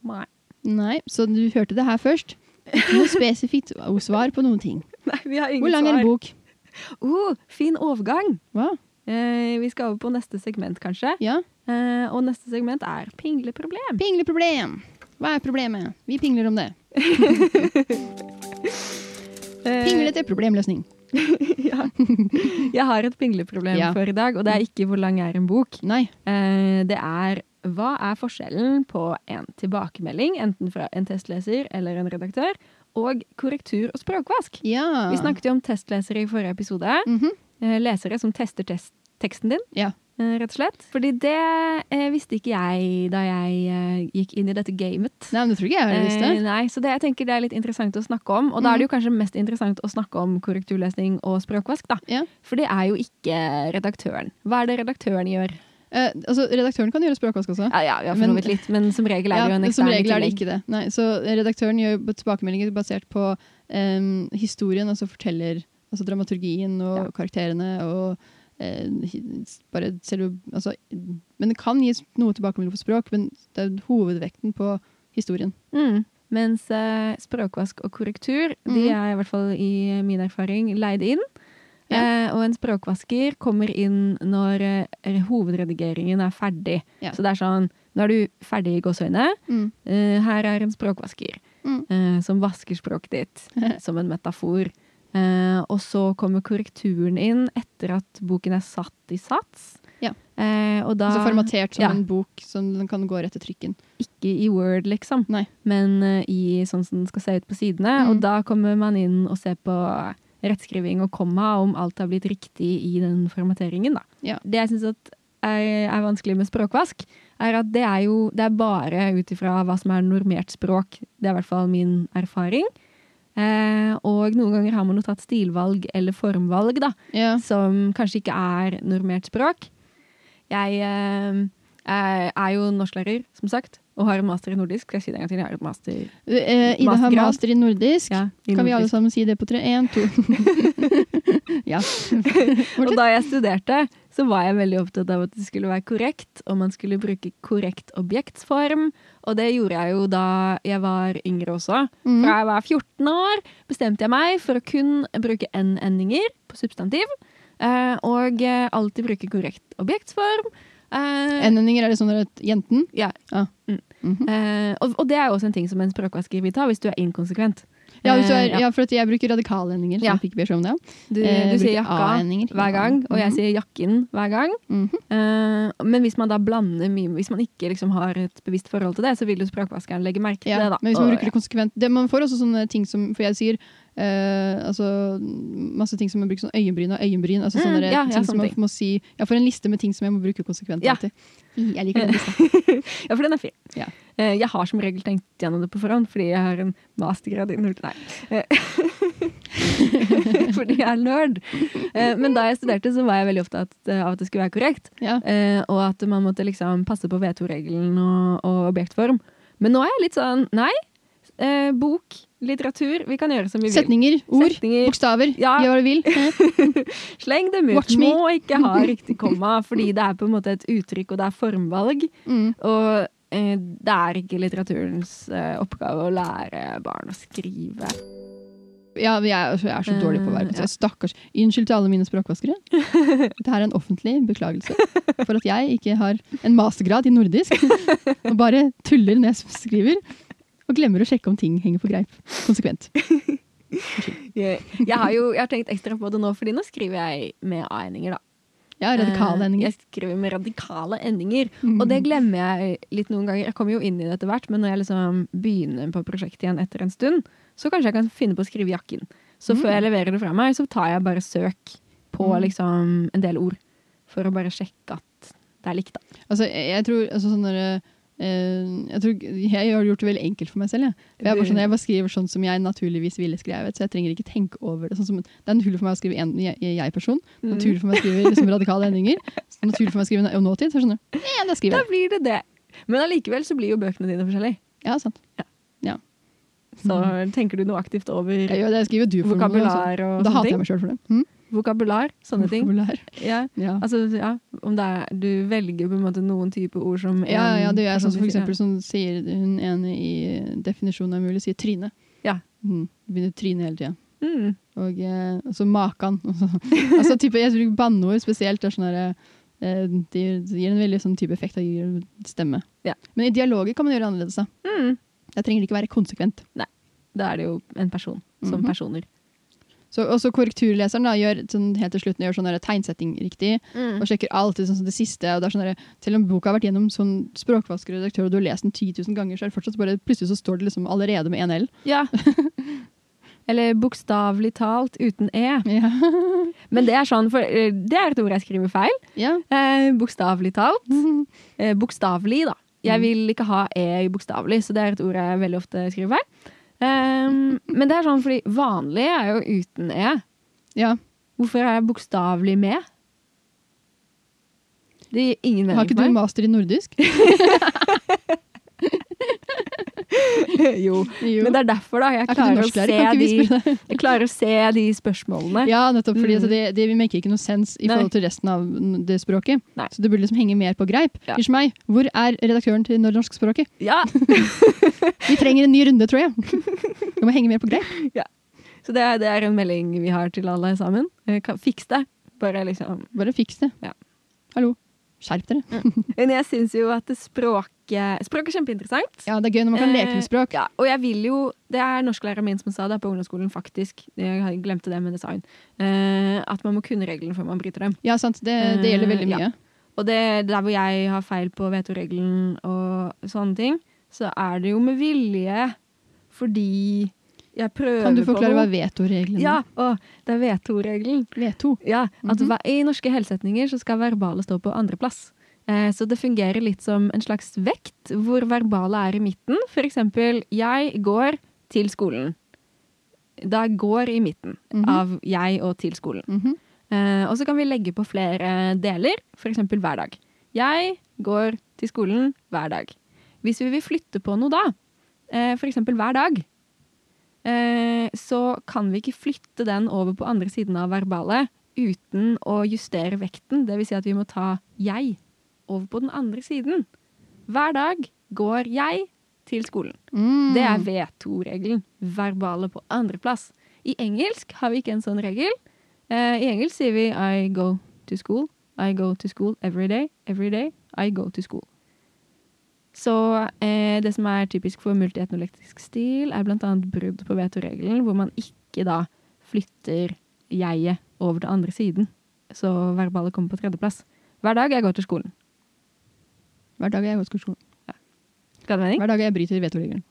[SPEAKER 1] Nei.
[SPEAKER 2] Nei, så du hørte det her først. Ikke Noe spesifikt svar på noen ting.
[SPEAKER 1] Nei, vi har ingen
[SPEAKER 2] Hvor lang er en
[SPEAKER 1] svar.
[SPEAKER 2] bok?
[SPEAKER 1] Oh, fin overgang!
[SPEAKER 2] Hva?
[SPEAKER 1] Eh, vi skal over på neste segment, kanskje.
[SPEAKER 2] Ja,
[SPEAKER 1] Eh, og neste segment er pingleproblem.
[SPEAKER 2] pingleproblem. Hva er problemet? Vi pingler om det.
[SPEAKER 1] Eh,
[SPEAKER 2] Pinglete problemløsning.
[SPEAKER 1] ja. Jeg har et pingleproblem
[SPEAKER 2] Ja.
[SPEAKER 1] for i dag, og det er ikke hvor lang er en bok.
[SPEAKER 2] Nei.
[SPEAKER 1] Eh, Det er hva er forskjellen på en tilbakemelding, enten fra en testleser eller en redaktør, og korrektur og språkvask?
[SPEAKER 2] Ja.
[SPEAKER 1] Vi snakket jo om testlesere i forrige episode.
[SPEAKER 2] Mhm.
[SPEAKER 1] Eh, Lesere som tester test teksten din,
[SPEAKER 2] Ja.
[SPEAKER 1] eh, rett og slett. Fordi det eh, visste ikke jeg da jeg eh, gikk inn i dette gamet.
[SPEAKER 2] Nei, men det tror ikke jeg hadde visst
[SPEAKER 1] Eh,
[SPEAKER 2] det. Mhm.
[SPEAKER 1] nei, så det, jeg tenker det er litt interessant å snakke om. Og da er det jo kanskje mest interessant å snakke om korrekturlesning og språkvask, da.
[SPEAKER 2] Ja.
[SPEAKER 1] For det er jo ikke redaktøren. Hva er det redaktøren gjør?
[SPEAKER 2] Eh, altså, redaktøren kan gjøre språkvask også. altså.
[SPEAKER 1] Ja, ja, vi har
[SPEAKER 2] Men-
[SPEAKER 1] forlovet litt, men som regel er det jo en
[SPEAKER 2] Ja, Som
[SPEAKER 1] ekstern
[SPEAKER 2] regel er
[SPEAKER 1] tillegg.
[SPEAKER 2] det ikke det. Nei, så redaktøren gjør b- tilbakemeldinger basert på em, historien, altså forteller altså dramaturgien og
[SPEAKER 1] Ja.
[SPEAKER 2] karakterene og eh, hi- s- bare selve altså, Men det kan gis noe tilbakemelding på språk, men det er hovedvekten på historien.
[SPEAKER 1] Mm. Mens eh, språkvask og korrektur, de
[SPEAKER 2] Mhm.
[SPEAKER 1] er i hvert fall i min erfaring leid inn.
[SPEAKER 2] Ja.
[SPEAKER 1] Eh, og en språkvasker kommer inn når eh, hovedredigeringen er ferdig.
[SPEAKER 2] Ja.
[SPEAKER 1] Så det er sånn, nå er du ferdig i gåsøgne, eh, her er en språkvasker
[SPEAKER 2] Mm.
[SPEAKER 1] eh, som vasker språket ditt, som en metafor. Eh, og så kommer korrekturen inn etter at boken er satt i sats.
[SPEAKER 2] Ja.
[SPEAKER 1] Eh, og da
[SPEAKER 2] Altså formatert som
[SPEAKER 1] Ja.
[SPEAKER 2] en bok som den kan gå rett til trykken.
[SPEAKER 1] ikke i Word, liksom,
[SPEAKER 2] Nei.
[SPEAKER 1] men eh, i sånn som den skal se ut på sidene.
[SPEAKER 2] Mm.
[SPEAKER 1] Og da kommer man inn og ser på rettskriving og komma, om alt har blitt riktig i den formateringen. Da.
[SPEAKER 2] Ja.
[SPEAKER 1] Det jeg syns er, er vanskelig med språkvask, er at det er jo det er bare ut ifra hva som er normert språk. Det er i hvert fall min erfaring. Eh, og noen ganger har man jo tatt stilvalg eller formvalg, da
[SPEAKER 2] Ja.
[SPEAKER 1] som kanskje ikke er normert språk. Jeg eh, er er jo norsklærer, som sagt, og har en master i nordisk. Skal jeg si det en gang til? Jeg har et master
[SPEAKER 2] Eh, Ida har
[SPEAKER 1] Mastergrad.
[SPEAKER 2] master i nordisk.
[SPEAKER 1] ja, i
[SPEAKER 2] Kan vi alle
[SPEAKER 1] nordisk.
[SPEAKER 2] sammen si det på tre? Én, to Ja.
[SPEAKER 1] Og da jeg studerte, så var jeg veldig opptatt av at det skulle være korrekt, og man skulle bruke korrekt objektsform. Og det gjorde jeg jo da jeg var yngre også.
[SPEAKER 2] Mm.
[SPEAKER 1] Fra jeg var 14 år, bestemte jeg meg for å kun bruke n-endinger på substantiv. eh, Og eh, alltid bruke korrekt objektsform. Eh,
[SPEAKER 2] N-endinger, er det sånn at jenten
[SPEAKER 1] Ja.
[SPEAKER 2] Ja.
[SPEAKER 1] Mm.
[SPEAKER 2] Mhm.
[SPEAKER 1] Eh, og, og det er jo også en ting som en språkvasker vil ta hvis du er inkonsekvent.
[SPEAKER 2] Ja, hvis du er,
[SPEAKER 1] Eh,
[SPEAKER 2] ja, for at jeg bruker radikale endinger. som
[SPEAKER 1] Ja.
[SPEAKER 2] jeg fikk beskjed om det.
[SPEAKER 1] Du,
[SPEAKER 2] Eh,
[SPEAKER 1] du sier
[SPEAKER 2] bruker
[SPEAKER 1] jakka
[SPEAKER 2] A-endinger.
[SPEAKER 1] hver gang, og jeg
[SPEAKER 2] Mhm.
[SPEAKER 1] sier jakken hver gang.
[SPEAKER 2] Mhm.
[SPEAKER 1] Eh, men hvis man da blander mye, hvis man ikke liksom har et bevisst forhold til det, så vil jo språkvaskeren legge merke til
[SPEAKER 2] ja.
[SPEAKER 1] det. da.
[SPEAKER 2] Men hvis man
[SPEAKER 1] Og-
[SPEAKER 2] bruker det konsekvent det, Man får også sånne ting som For jeg sier eh, altså, masse ting som man bruker sånn øyenbryn og øyenbryn. Altså,
[SPEAKER 1] Mm,
[SPEAKER 2] sånne
[SPEAKER 1] ja, ja,
[SPEAKER 2] ting som
[SPEAKER 1] sånne
[SPEAKER 2] man
[SPEAKER 1] ting.
[SPEAKER 2] må si Jeg får en liste med ting som jeg må bruke konsekvent.
[SPEAKER 1] Ja.
[SPEAKER 2] alltid. Jeg liker den lista.
[SPEAKER 1] Ja, for den er fin.
[SPEAKER 2] Ja.
[SPEAKER 1] Eh, jeg har som regel tenkt gjennom det på forhånd, fordi jeg har en mastergrad i null... Nei. Eh, fordi jeg er nerd. Eh, men da jeg studerte, så var jeg veldig opptatt eh, av at det skulle være korrekt.
[SPEAKER 2] Ja.
[SPEAKER 1] Eh, og at man måtte liksom passe på V2-regelen og, og objektform. Men nå er jeg litt sånn Nei, Eh, bok, litteratur. Vi kan gjøre som vi vil.
[SPEAKER 2] Setninger, ord,
[SPEAKER 1] Setninger.
[SPEAKER 2] bokstaver.
[SPEAKER 1] Ja.
[SPEAKER 2] Gjør hva du vil.
[SPEAKER 1] Sleng dem ut.
[SPEAKER 2] Watch me.
[SPEAKER 1] Må ikke ha riktig komma, fordi det er på en måte et uttrykk, og det er formvalg.
[SPEAKER 2] Mm.
[SPEAKER 1] Og eh, det er ikke litteraturens eh, oppgave å lære barn å skrive.
[SPEAKER 2] Ja, men jeg, jeg er så dårlig på å være
[SPEAKER 1] Eh, ja.
[SPEAKER 2] på Stakkars. Unnskyld til alle mine språkvaskere. Dette er en offentlig beklagelse for at jeg ikke har en mastergrad i nordisk. Og bare tuller når jeg skriver. Og glemmer å sjekke om ting henger på greip. Konsekvent.
[SPEAKER 1] Jeg, jeg har jo jeg har tenkt ekstra på det nå, fordi nå skriver jeg med a-endinger, da.
[SPEAKER 2] Ja, radikale
[SPEAKER 1] Eh,
[SPEAKER 2] endinger.
[SPEAKER 1] Jeg skriver med radikale endinger.
[SPEAKER 2] Mm.
[SPEAKER 1] Og det glemmer jeg litt noen ganger. Jeg kommer jo inn i det etter hvert, men når jeg liksom begynner på prosjektet igjen etter en stund, så kanskje jeg kan finne på å skrive i jakken. Så før jeg leverer det fra meg, så tar jeg bare søk på
[SPEAKER 2] Mm.
[SPEAKER 1] liksom en del ord. For å bare sjekke at det er likt, da.
[SPEAKER 2] Altså, jeg, jeg tror altså, sånne eh, jeg, tror, jeg har gjort det veldig enkelt for meg selv. Jeg. For Jeg, er bare sånn, jeg bare skriver sånn som jeg naturligvis ville skrevet, så jeg trenger ikke tenke over det. Sånn som, det er naturlig for meg å skrive en jeg- jeg-person.
[SPEAKER 1] Mm.
[SPEAKER 2] Naturlig for meg å skrive liksom, radikale endinger. Naturlig for meg å skrive om nåtid. Så skjønner du. Ja, da skriver
[SPEAKER 1] Da
[SPEAKER 2] jeg.
[SPEAKER 1] blir det det. Men allikevel så blir jo bøkene dine forskjellige.
[SPEAKER 2] Ja, sant.
[SPEAKER 1] Så tenker du noe aktivt
[SPEAKER 2] Mm.
[SPEAKER 1] over
[SPEAKER 2] Jeg, gjør det, jeg skriver du-formål.
[SPEAKER 1] vokabular og
[SPEAKER 2] Da
[SPEAKER 1] sånne
[SPEAKER 2] hater jeg
[SPEAKER 1] ting.
[SPEAKER 2] meg sjøl for det. Hm?
[SPEAKER 1] Vokabular, sånne ting.
[SPEAKER 2] Vokabulær.
[SPEAKER 1] Ja.
[SPEAKER 2] Ja.
[SPEAKER 1] Altså, ja, om det er, du velger på en måte noen type ord som en
[SPEAKER 2] Ja, ja, det gjør jeg.
[SPEAKER 1] person
[SPEAKER 2] Sånn, som for
[SPEAKER 1] sier.
[SPEAKER 2] eksempel sånn, sier hun ene i definisjonen av mulig, sier tryne.
[SPEAKER 1] Ja.
[SPEAKER 2] Mm. Begynner å tryne hele tida.
[SPEAKER 1] Mm.
[SPEAKER 2] Og eh, og så makan. og så- altså, type, jeg tror banneord spesielt er sånn der, eh, de, de gir en veldig sånn type effekt av gir stemme.
[SPEAKER 1] Ja.
[SPEAKER 2] Men i dialoger kan man gjøre annerledes. Da.
[SPEAKER 1] Mm.
[SPEAKER 2] Der trenger det ikke være konsekvent.
[SPEAKER 1] Da er det jo en person, som
[SPEAKER 2] Mhm.
[SPEAKER 1] personer.
[SPEAKER 2] Så, og så korrekturleseren da, gjør sånn, helt til slutt gjør sånn der tegnsetting riktig,
[SPEAKER 1] Mm.
[SPEAKER 2] og sjekker alltid sånn, som det siste. Og det er sånn der, selv om boka har vært gjennom sånn språkvasker og redaktør, og du har lest den 10 000 ganger, så er det fortsatt bare, plutselig så står det liksom allerede med en L.
[SPEAKER 1] Ja. Eller bokstavelig talt uten e.
[SPEAKER 2] Ja.
[SPEAKER 1] Men det er sånn, for eh, det er et ord jeg skriver feil.
[SPEAKER 2] ja.
[SPEAKER 1] Eh, bokstavelig talt. Eh, bokstavelig, da. Jeg
[SPEAKER 2] Mm.
[SPEAKER 1] vil ikke ha e i bokstavelig, så det er et ord jeg veldig ofte skriver feil. Ehm, men det er sånn fordi vanlig er jo uten e.
[SPEAKER 2] ja.
[SPEAKER 1] Hvorfor er jeg bokstavelig med? Det gir ingen mening
[SPEAKER 2] Har ikke
[SPEAKER 1] for meg.
[SPEAKER 2] du master i nordisk?
[SPEAKER 1] jo.
[SPEAKER 2] Jo.
[SPEAKER 1] Men det er derfor, da. Jeg
[SPEAKER 2] Er ikke du
[SPEAKER 1] klarer, å
[SPEAKER 2] norsklærer?
[SPEAKER 1] se
[SPEAKER 2] Kan ikke vi
[SPEAKER 1] de,
[SPEAKER 2] spørre deg?
[SPEAKER 1] jeg klarer å se de spørsmålene.
[SPEAKER 2] Ja, nettopp,
[SPEAKER 1] Mm.
[SPEAKER 2] fordi altså, det, det vi maker ikke noe sens i
[SPEAKER 1] Nei.
[SPEAKER 2] forhold til resten av det språket.
[SPEAKER 1] Nei.
[SPEAKER 2] Så det burde liksom henge mer på greip.
[SPEAKER 1] Ja.
[SPEAKER 2] Hysj meg, hvor er redaktøren til norskspråket?
[SPEAKER 1] Ja.
[SPEAKER 2] Vi trenger en ny runde, tror jeg. Vi må henge mer på greip.
[SPEAKER 1] Så det er, det er en melding vi har til alle sammen. Eh, kan- Fiks det. Bare liksom
[SPEAKER 2] Bare fiks det.
[SPEAKER 1] Ja.
[SPEAKER 2] Hallo. Skjerp dere.
[SPEAKER 1] Men jeg syns jo at det språket Språk er kjempeinteressant.
[SPEAKER 2] Ja, det er gøy når man kan leke med språk.
[SPEAKER 1] Eh, Ja, og jeg vil jo Det er norsklæreren min som sa det på ungdomsskolen, faktisk. Jeg glemte det, men det sa hun. Eh, at man må kunne reglene før man bryter dem.
[SPEAKER 2] Ja, sant. Det, det gjelder veldig
[SPEAKER 1] Eh, ja.
[SPEAKER 2] mye.
[SPEAKER 1] Og det, der hvor jeg har feil på vetoregelen og sånne ting, så er det jo med vilje fordi jeg prøver
[SPEAKER 2] Kan du forklare hva
[SPEAKER 1] på noe.
[SPEAKER 2] vetoreglene
[SPEAKER 1] Ja, å, det er veto-regelen.
[SPEAKER 2] Veto.
[SPEAKER 1] Ja, at
[SPEAKER 2] Mhm.
[SPEAKER 1] hva- I norske helsetninger så skal verbale stå på andreplass. Eh, så det fungerer litt som en slags vekt, hvor verbale er i midten. For eksempel, jeg går til skolen. Da går i midten
[SPEAKER 2] Mhm.
[SPEAKER 1] av jeg og til skolen.
[SPEAKER 2] Mhm.
[SPEAKER 1] Eh, og så kan vi legge på flere deler, f.eks. hver dag. Jeg går til skolen hver dag. Hvis vi vil flytte på noe da, eh, for f.eks. hver dag, eh, så kan vi ikke flytte den over på andre siden av verbalet uten å justere vekten. Dvs. Si at vi må ta 'jeg' over på den andre siden. Hver dag går jeg til skolen.
[SPEAKER 2] Mm.
[SPEAKER 1] Det er V2-regelen. Verbale på andreplass. I engelsk har vi ikke en sånn regel. Eh, I engelsk sier vi I go to school. I go to school every day. Every day I go to school. Så eh, det som er typisk for multietnolektisk stil, er bl.a. brudd på V2-regelen, hvor man ikke da flytter jeget over til andre siden. Så verbale kommer på tredjeplass. Hver dag jeg går til skolen.
[SPEAKER 2] Hver dag jeg går til skolen.
[SPEAKER 1] Skal det mening?
[SPEAKER 2] Hver dag jeg bryter vetoregelen.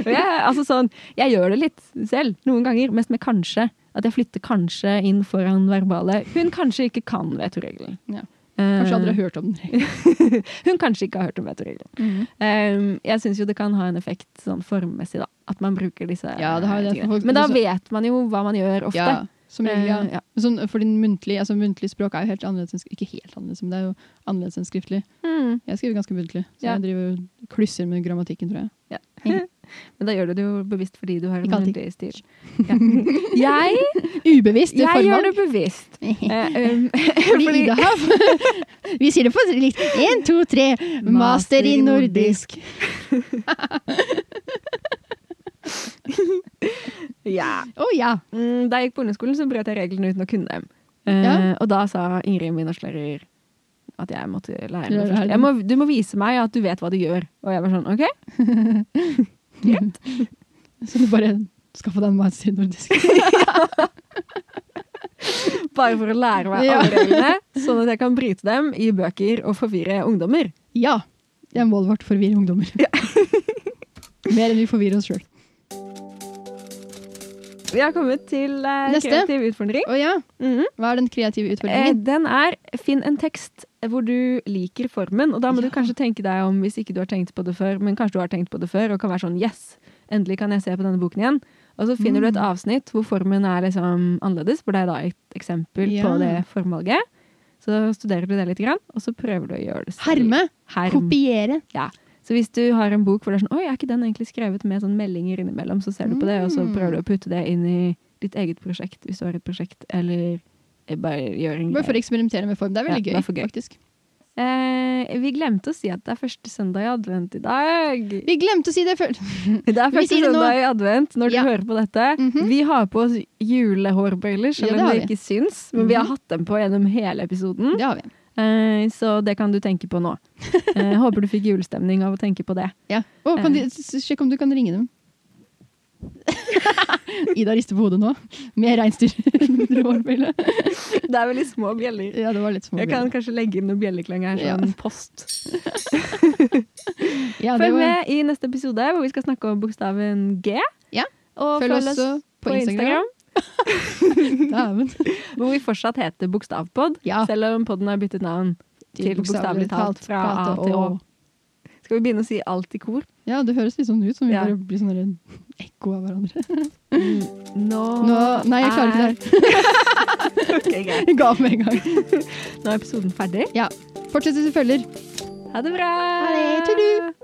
[SPEAKER 1] Og Jeg, altså sånn, jeg gjør det litt selv, noen ganger, mest med kanskje. At jeg flytter kanskje inn foran verbale. Hun kanskje ikke kan vetoregelen.
[SPEAKER 2] Ja.
[SPEAKER 1] Eh,
[SPEAKER 2] Kanskje aldri har hørt om den. Mhm.
[SPEAKER 1] hun kanskje ikke har hørt om vetoregelen. Eh, jeg syns jo det kan ha en effekt sånn formmessig, da. At man bruker disse
[SPEAKER 2] Ja, det har det.
[SPEAKER 1] eh, tingene.
[SPEAKER 2] Folk-
[SPEAKER 1] Men da
[SPEAKER 2] altså-
[SPEAKER 1] vet man jo hva man gjør ofte.
[SPEAKER 2] Ja, som regel, ja.
[SPEAKER 1] Eh, ja.
[SPEAKER 2] Men Sånn, fordi muntlig, altså, muntlig språk er jo helt annerledes enn sk- Ikke helt annerledes, men det er jo annerledes enn skriftlig.
[SPEAKER 1] Mm.
[SPEAKER 2] Jeg skriver ganske muntlig, så
[SPEAKER 1] Ja.
[SPEAKER 2] jeg driver og klusser med grammatikken, tror jeg.
[SPEAKER 1] Ja. Men da gjør du det jo bevisst fordi du har en
[SPEAKER 2] Ikke alltid.
[SPEAKER 1] muntlig styr. Ja. Jeg,
[SPEAKER 2] Ubevisst. Det
[SPEAKER 1] jeg gjør
[SPEAKER 2] former.
[SPEAKER 1] det bevisst. Eh, um,
[SPEAKER 2] Fordi Ida har- Vi sier det på likt. Én, to, tre. Master i nordisk.
[SPEAKER 1] ja.
[SPEAKER 2] Å ja.
[SPEAKER 1] Mm, Da jeg gikk på ungdomsskolen, så brøt jeg reglene uten å kunne dem. Eh,
[SPEAKER 2] Ja.
[SPEAKER 1] Og da sa Ingrid, min norsklærer, at jeg måtte lære
[SPEAKER 2] Lære
[SPEAKER 1] meg først.
[SPEAKER 2] det.
[SPEAKER 1] Jeg må, du må vise meg at du vet hva du gjør. Og jeg var sånn, ok?
[SPEAKER 2] Så du bare skaffa deg en master i nordisk.
[SPEAKER 1] Bare for å lære meg
[SPEAKER 2] Ja.
[SPEAKER 1] alle reglene, sånn at jeg kan bryte dem i bøker og forvirre ungdommer.
[SPEAKER 2] Ja. Det er målet vårt. Forvirre ungdommer. Mer enn vi forvirrer oss sjøl.
[SPEAKER 1] Vi har kommet til eh,
[SPEAKER 2] Neste.
[SPEAKER 1] kreativ utfordring.
[SPEAKER 2] Å ja.
[SPEAKER 1] Mhm.
[SPEAKER 2] Hva er den kreative
[SPEAKER 1] Eh,
[SPEAKER 2] utfordringen?
[SPEAKER 1] den er finn en tekst hvor du liker formen, og da må du
[SPEAKER 2] Ja.
[SPEAKER 1] kanskje tenke deg om hvis ikke du har tenkt på det før, men kanskje du har tenkt på det før, og kan være sånn yes, endelig kan jeg se på denne boken igjen. Og så finner du et
[SPEAKER 2] Mm.
[SPEAKER 1] avsnitt hvor formen er liksom annerledes, hvor det er da et eksempel på
[SPEAKER 2] Ja.
[SPEAKER 1] det formvalget. Så studerer du det litt, grann, og så prøver du å gjøre det selv.
[SPEAKER 2] Herme.
[SPEAKER 1] Herm.
[SPEAKER 2] Kopiere.
[SPEAKER 1] Ja. Så hvis du har en bok hvor det er sånn Oi, er ikke den egentlig skrevet med sånn meldinger innimellom? Så ser du på det, og så
[SPEAKER 2] Mm.
[SPEAKER 1] prøver du å putte det inn i ditt eget prosjekt, hvis du har et prosjekt, eller eh, bare gjør en
[SPEAKER 2] Bare for å eksperimentere med form. Det er
[SPEAKER 1] Ja,
[SPEAKER 2] veldig
[SPEAKER 1] det
[SPEAKER 2] gøy,
[SPEAKER 1] er for gøy.
[SPEAKER 2] faktisk.
[SPEAKER 1] Eh, vi glemte å si at det er første søndag i advent i dag.
[SPEAKER 2] Vi glemte å si det før.
[SPEAKER 1] Det er
[SPEAKER 2] vi
[SPEAKER 1] første
[SPEAKER 2] sier det nå.
[SPEAKER 1] søndag i advent når
[SPEAKER 2] Ja.
[SPEAKER 1] du hører på dette.
[SPEAKER 2] Mhm.
[SPEAKER 1] Vi har på oss julehårbøyler, selv
[SPEAKER 2] Ja, det
[SPEAKER 1] om
[SPEAKER 2] har
[SPEAKER 1] det
[SPEAKER 2] vi.
[SPEAKER 1] ikke syns. Men vi har
[SPEAKER 2] Mhm.
[SPEAKER 1] hatt dem på gjennom hele episoden,
[SPEAKER 2] Det har vi.
[SPEAKER 1] eh, så det kan du tenke på nå. Eh, håper du fikk julestemning av å tenke på det.
[SPEAKER 2] Ja. Å, kan du, s- s- sjekk om du kan ringe dem. Ida rister på hodet nå. Med reinsdyr. Rårbille.
[SPEAKER 1] Det er veldig små bjeller.
[SPEAKER 2] ja, det var litt små
[SPEAKER 1] Jeg kan kanskje legge inn noen bjelleklang her,
[SPEAKER 2] Ja.
[SPEAKER 1] sånn post.
[SPEAKER 2] bjeller. ja, det
[SPEAKER 1] Følg
[SPEAKER 2] var-
[SPEAKER 1] med i neste episode, hvor vi skal snakke om bokstaven G.
[SPEAKER 2] Ja.
[SPEAKER 1] Og
[SPEAKER 2] Følg oss også på Instagram. Dæven.
[SPEAKER 1] hvor vi fortsatt heter Bokstavpod,
[SPEAKER 2] Ja.
[SPEAKER 1] selv om podden har byttet navn til Bokstavelig talt fra A
[SPEAKER 2] prate
[SPEAKER 1] til Å.
[SPEAKER 2] og-
[SPEAKER 1] Skal vi begynne å si alt i kor?
[SPEAKER 2] Ja, det høres litt sånn ut som vi
[SPEAKER 1] Ja.
[SPEAKER 2] bare blir sånn der ekko av hverandre.
[SPEAKER 1] Mm. Nå,
[SPEAKER 2] Nå, nei, jeg klarer ikke det her.
[SPEAKER 1] Ok, greit.
[SPEAKER 2] Jeg ga opp med en gang.
[SPEAKER 1] Nå er episoden ferdig.
[SPEAKER 2] Ja. Fortsett hvis du følger.
[SPEAKER 1] Ha det bra!
[SPEAKER 2] Ha det. Tudu.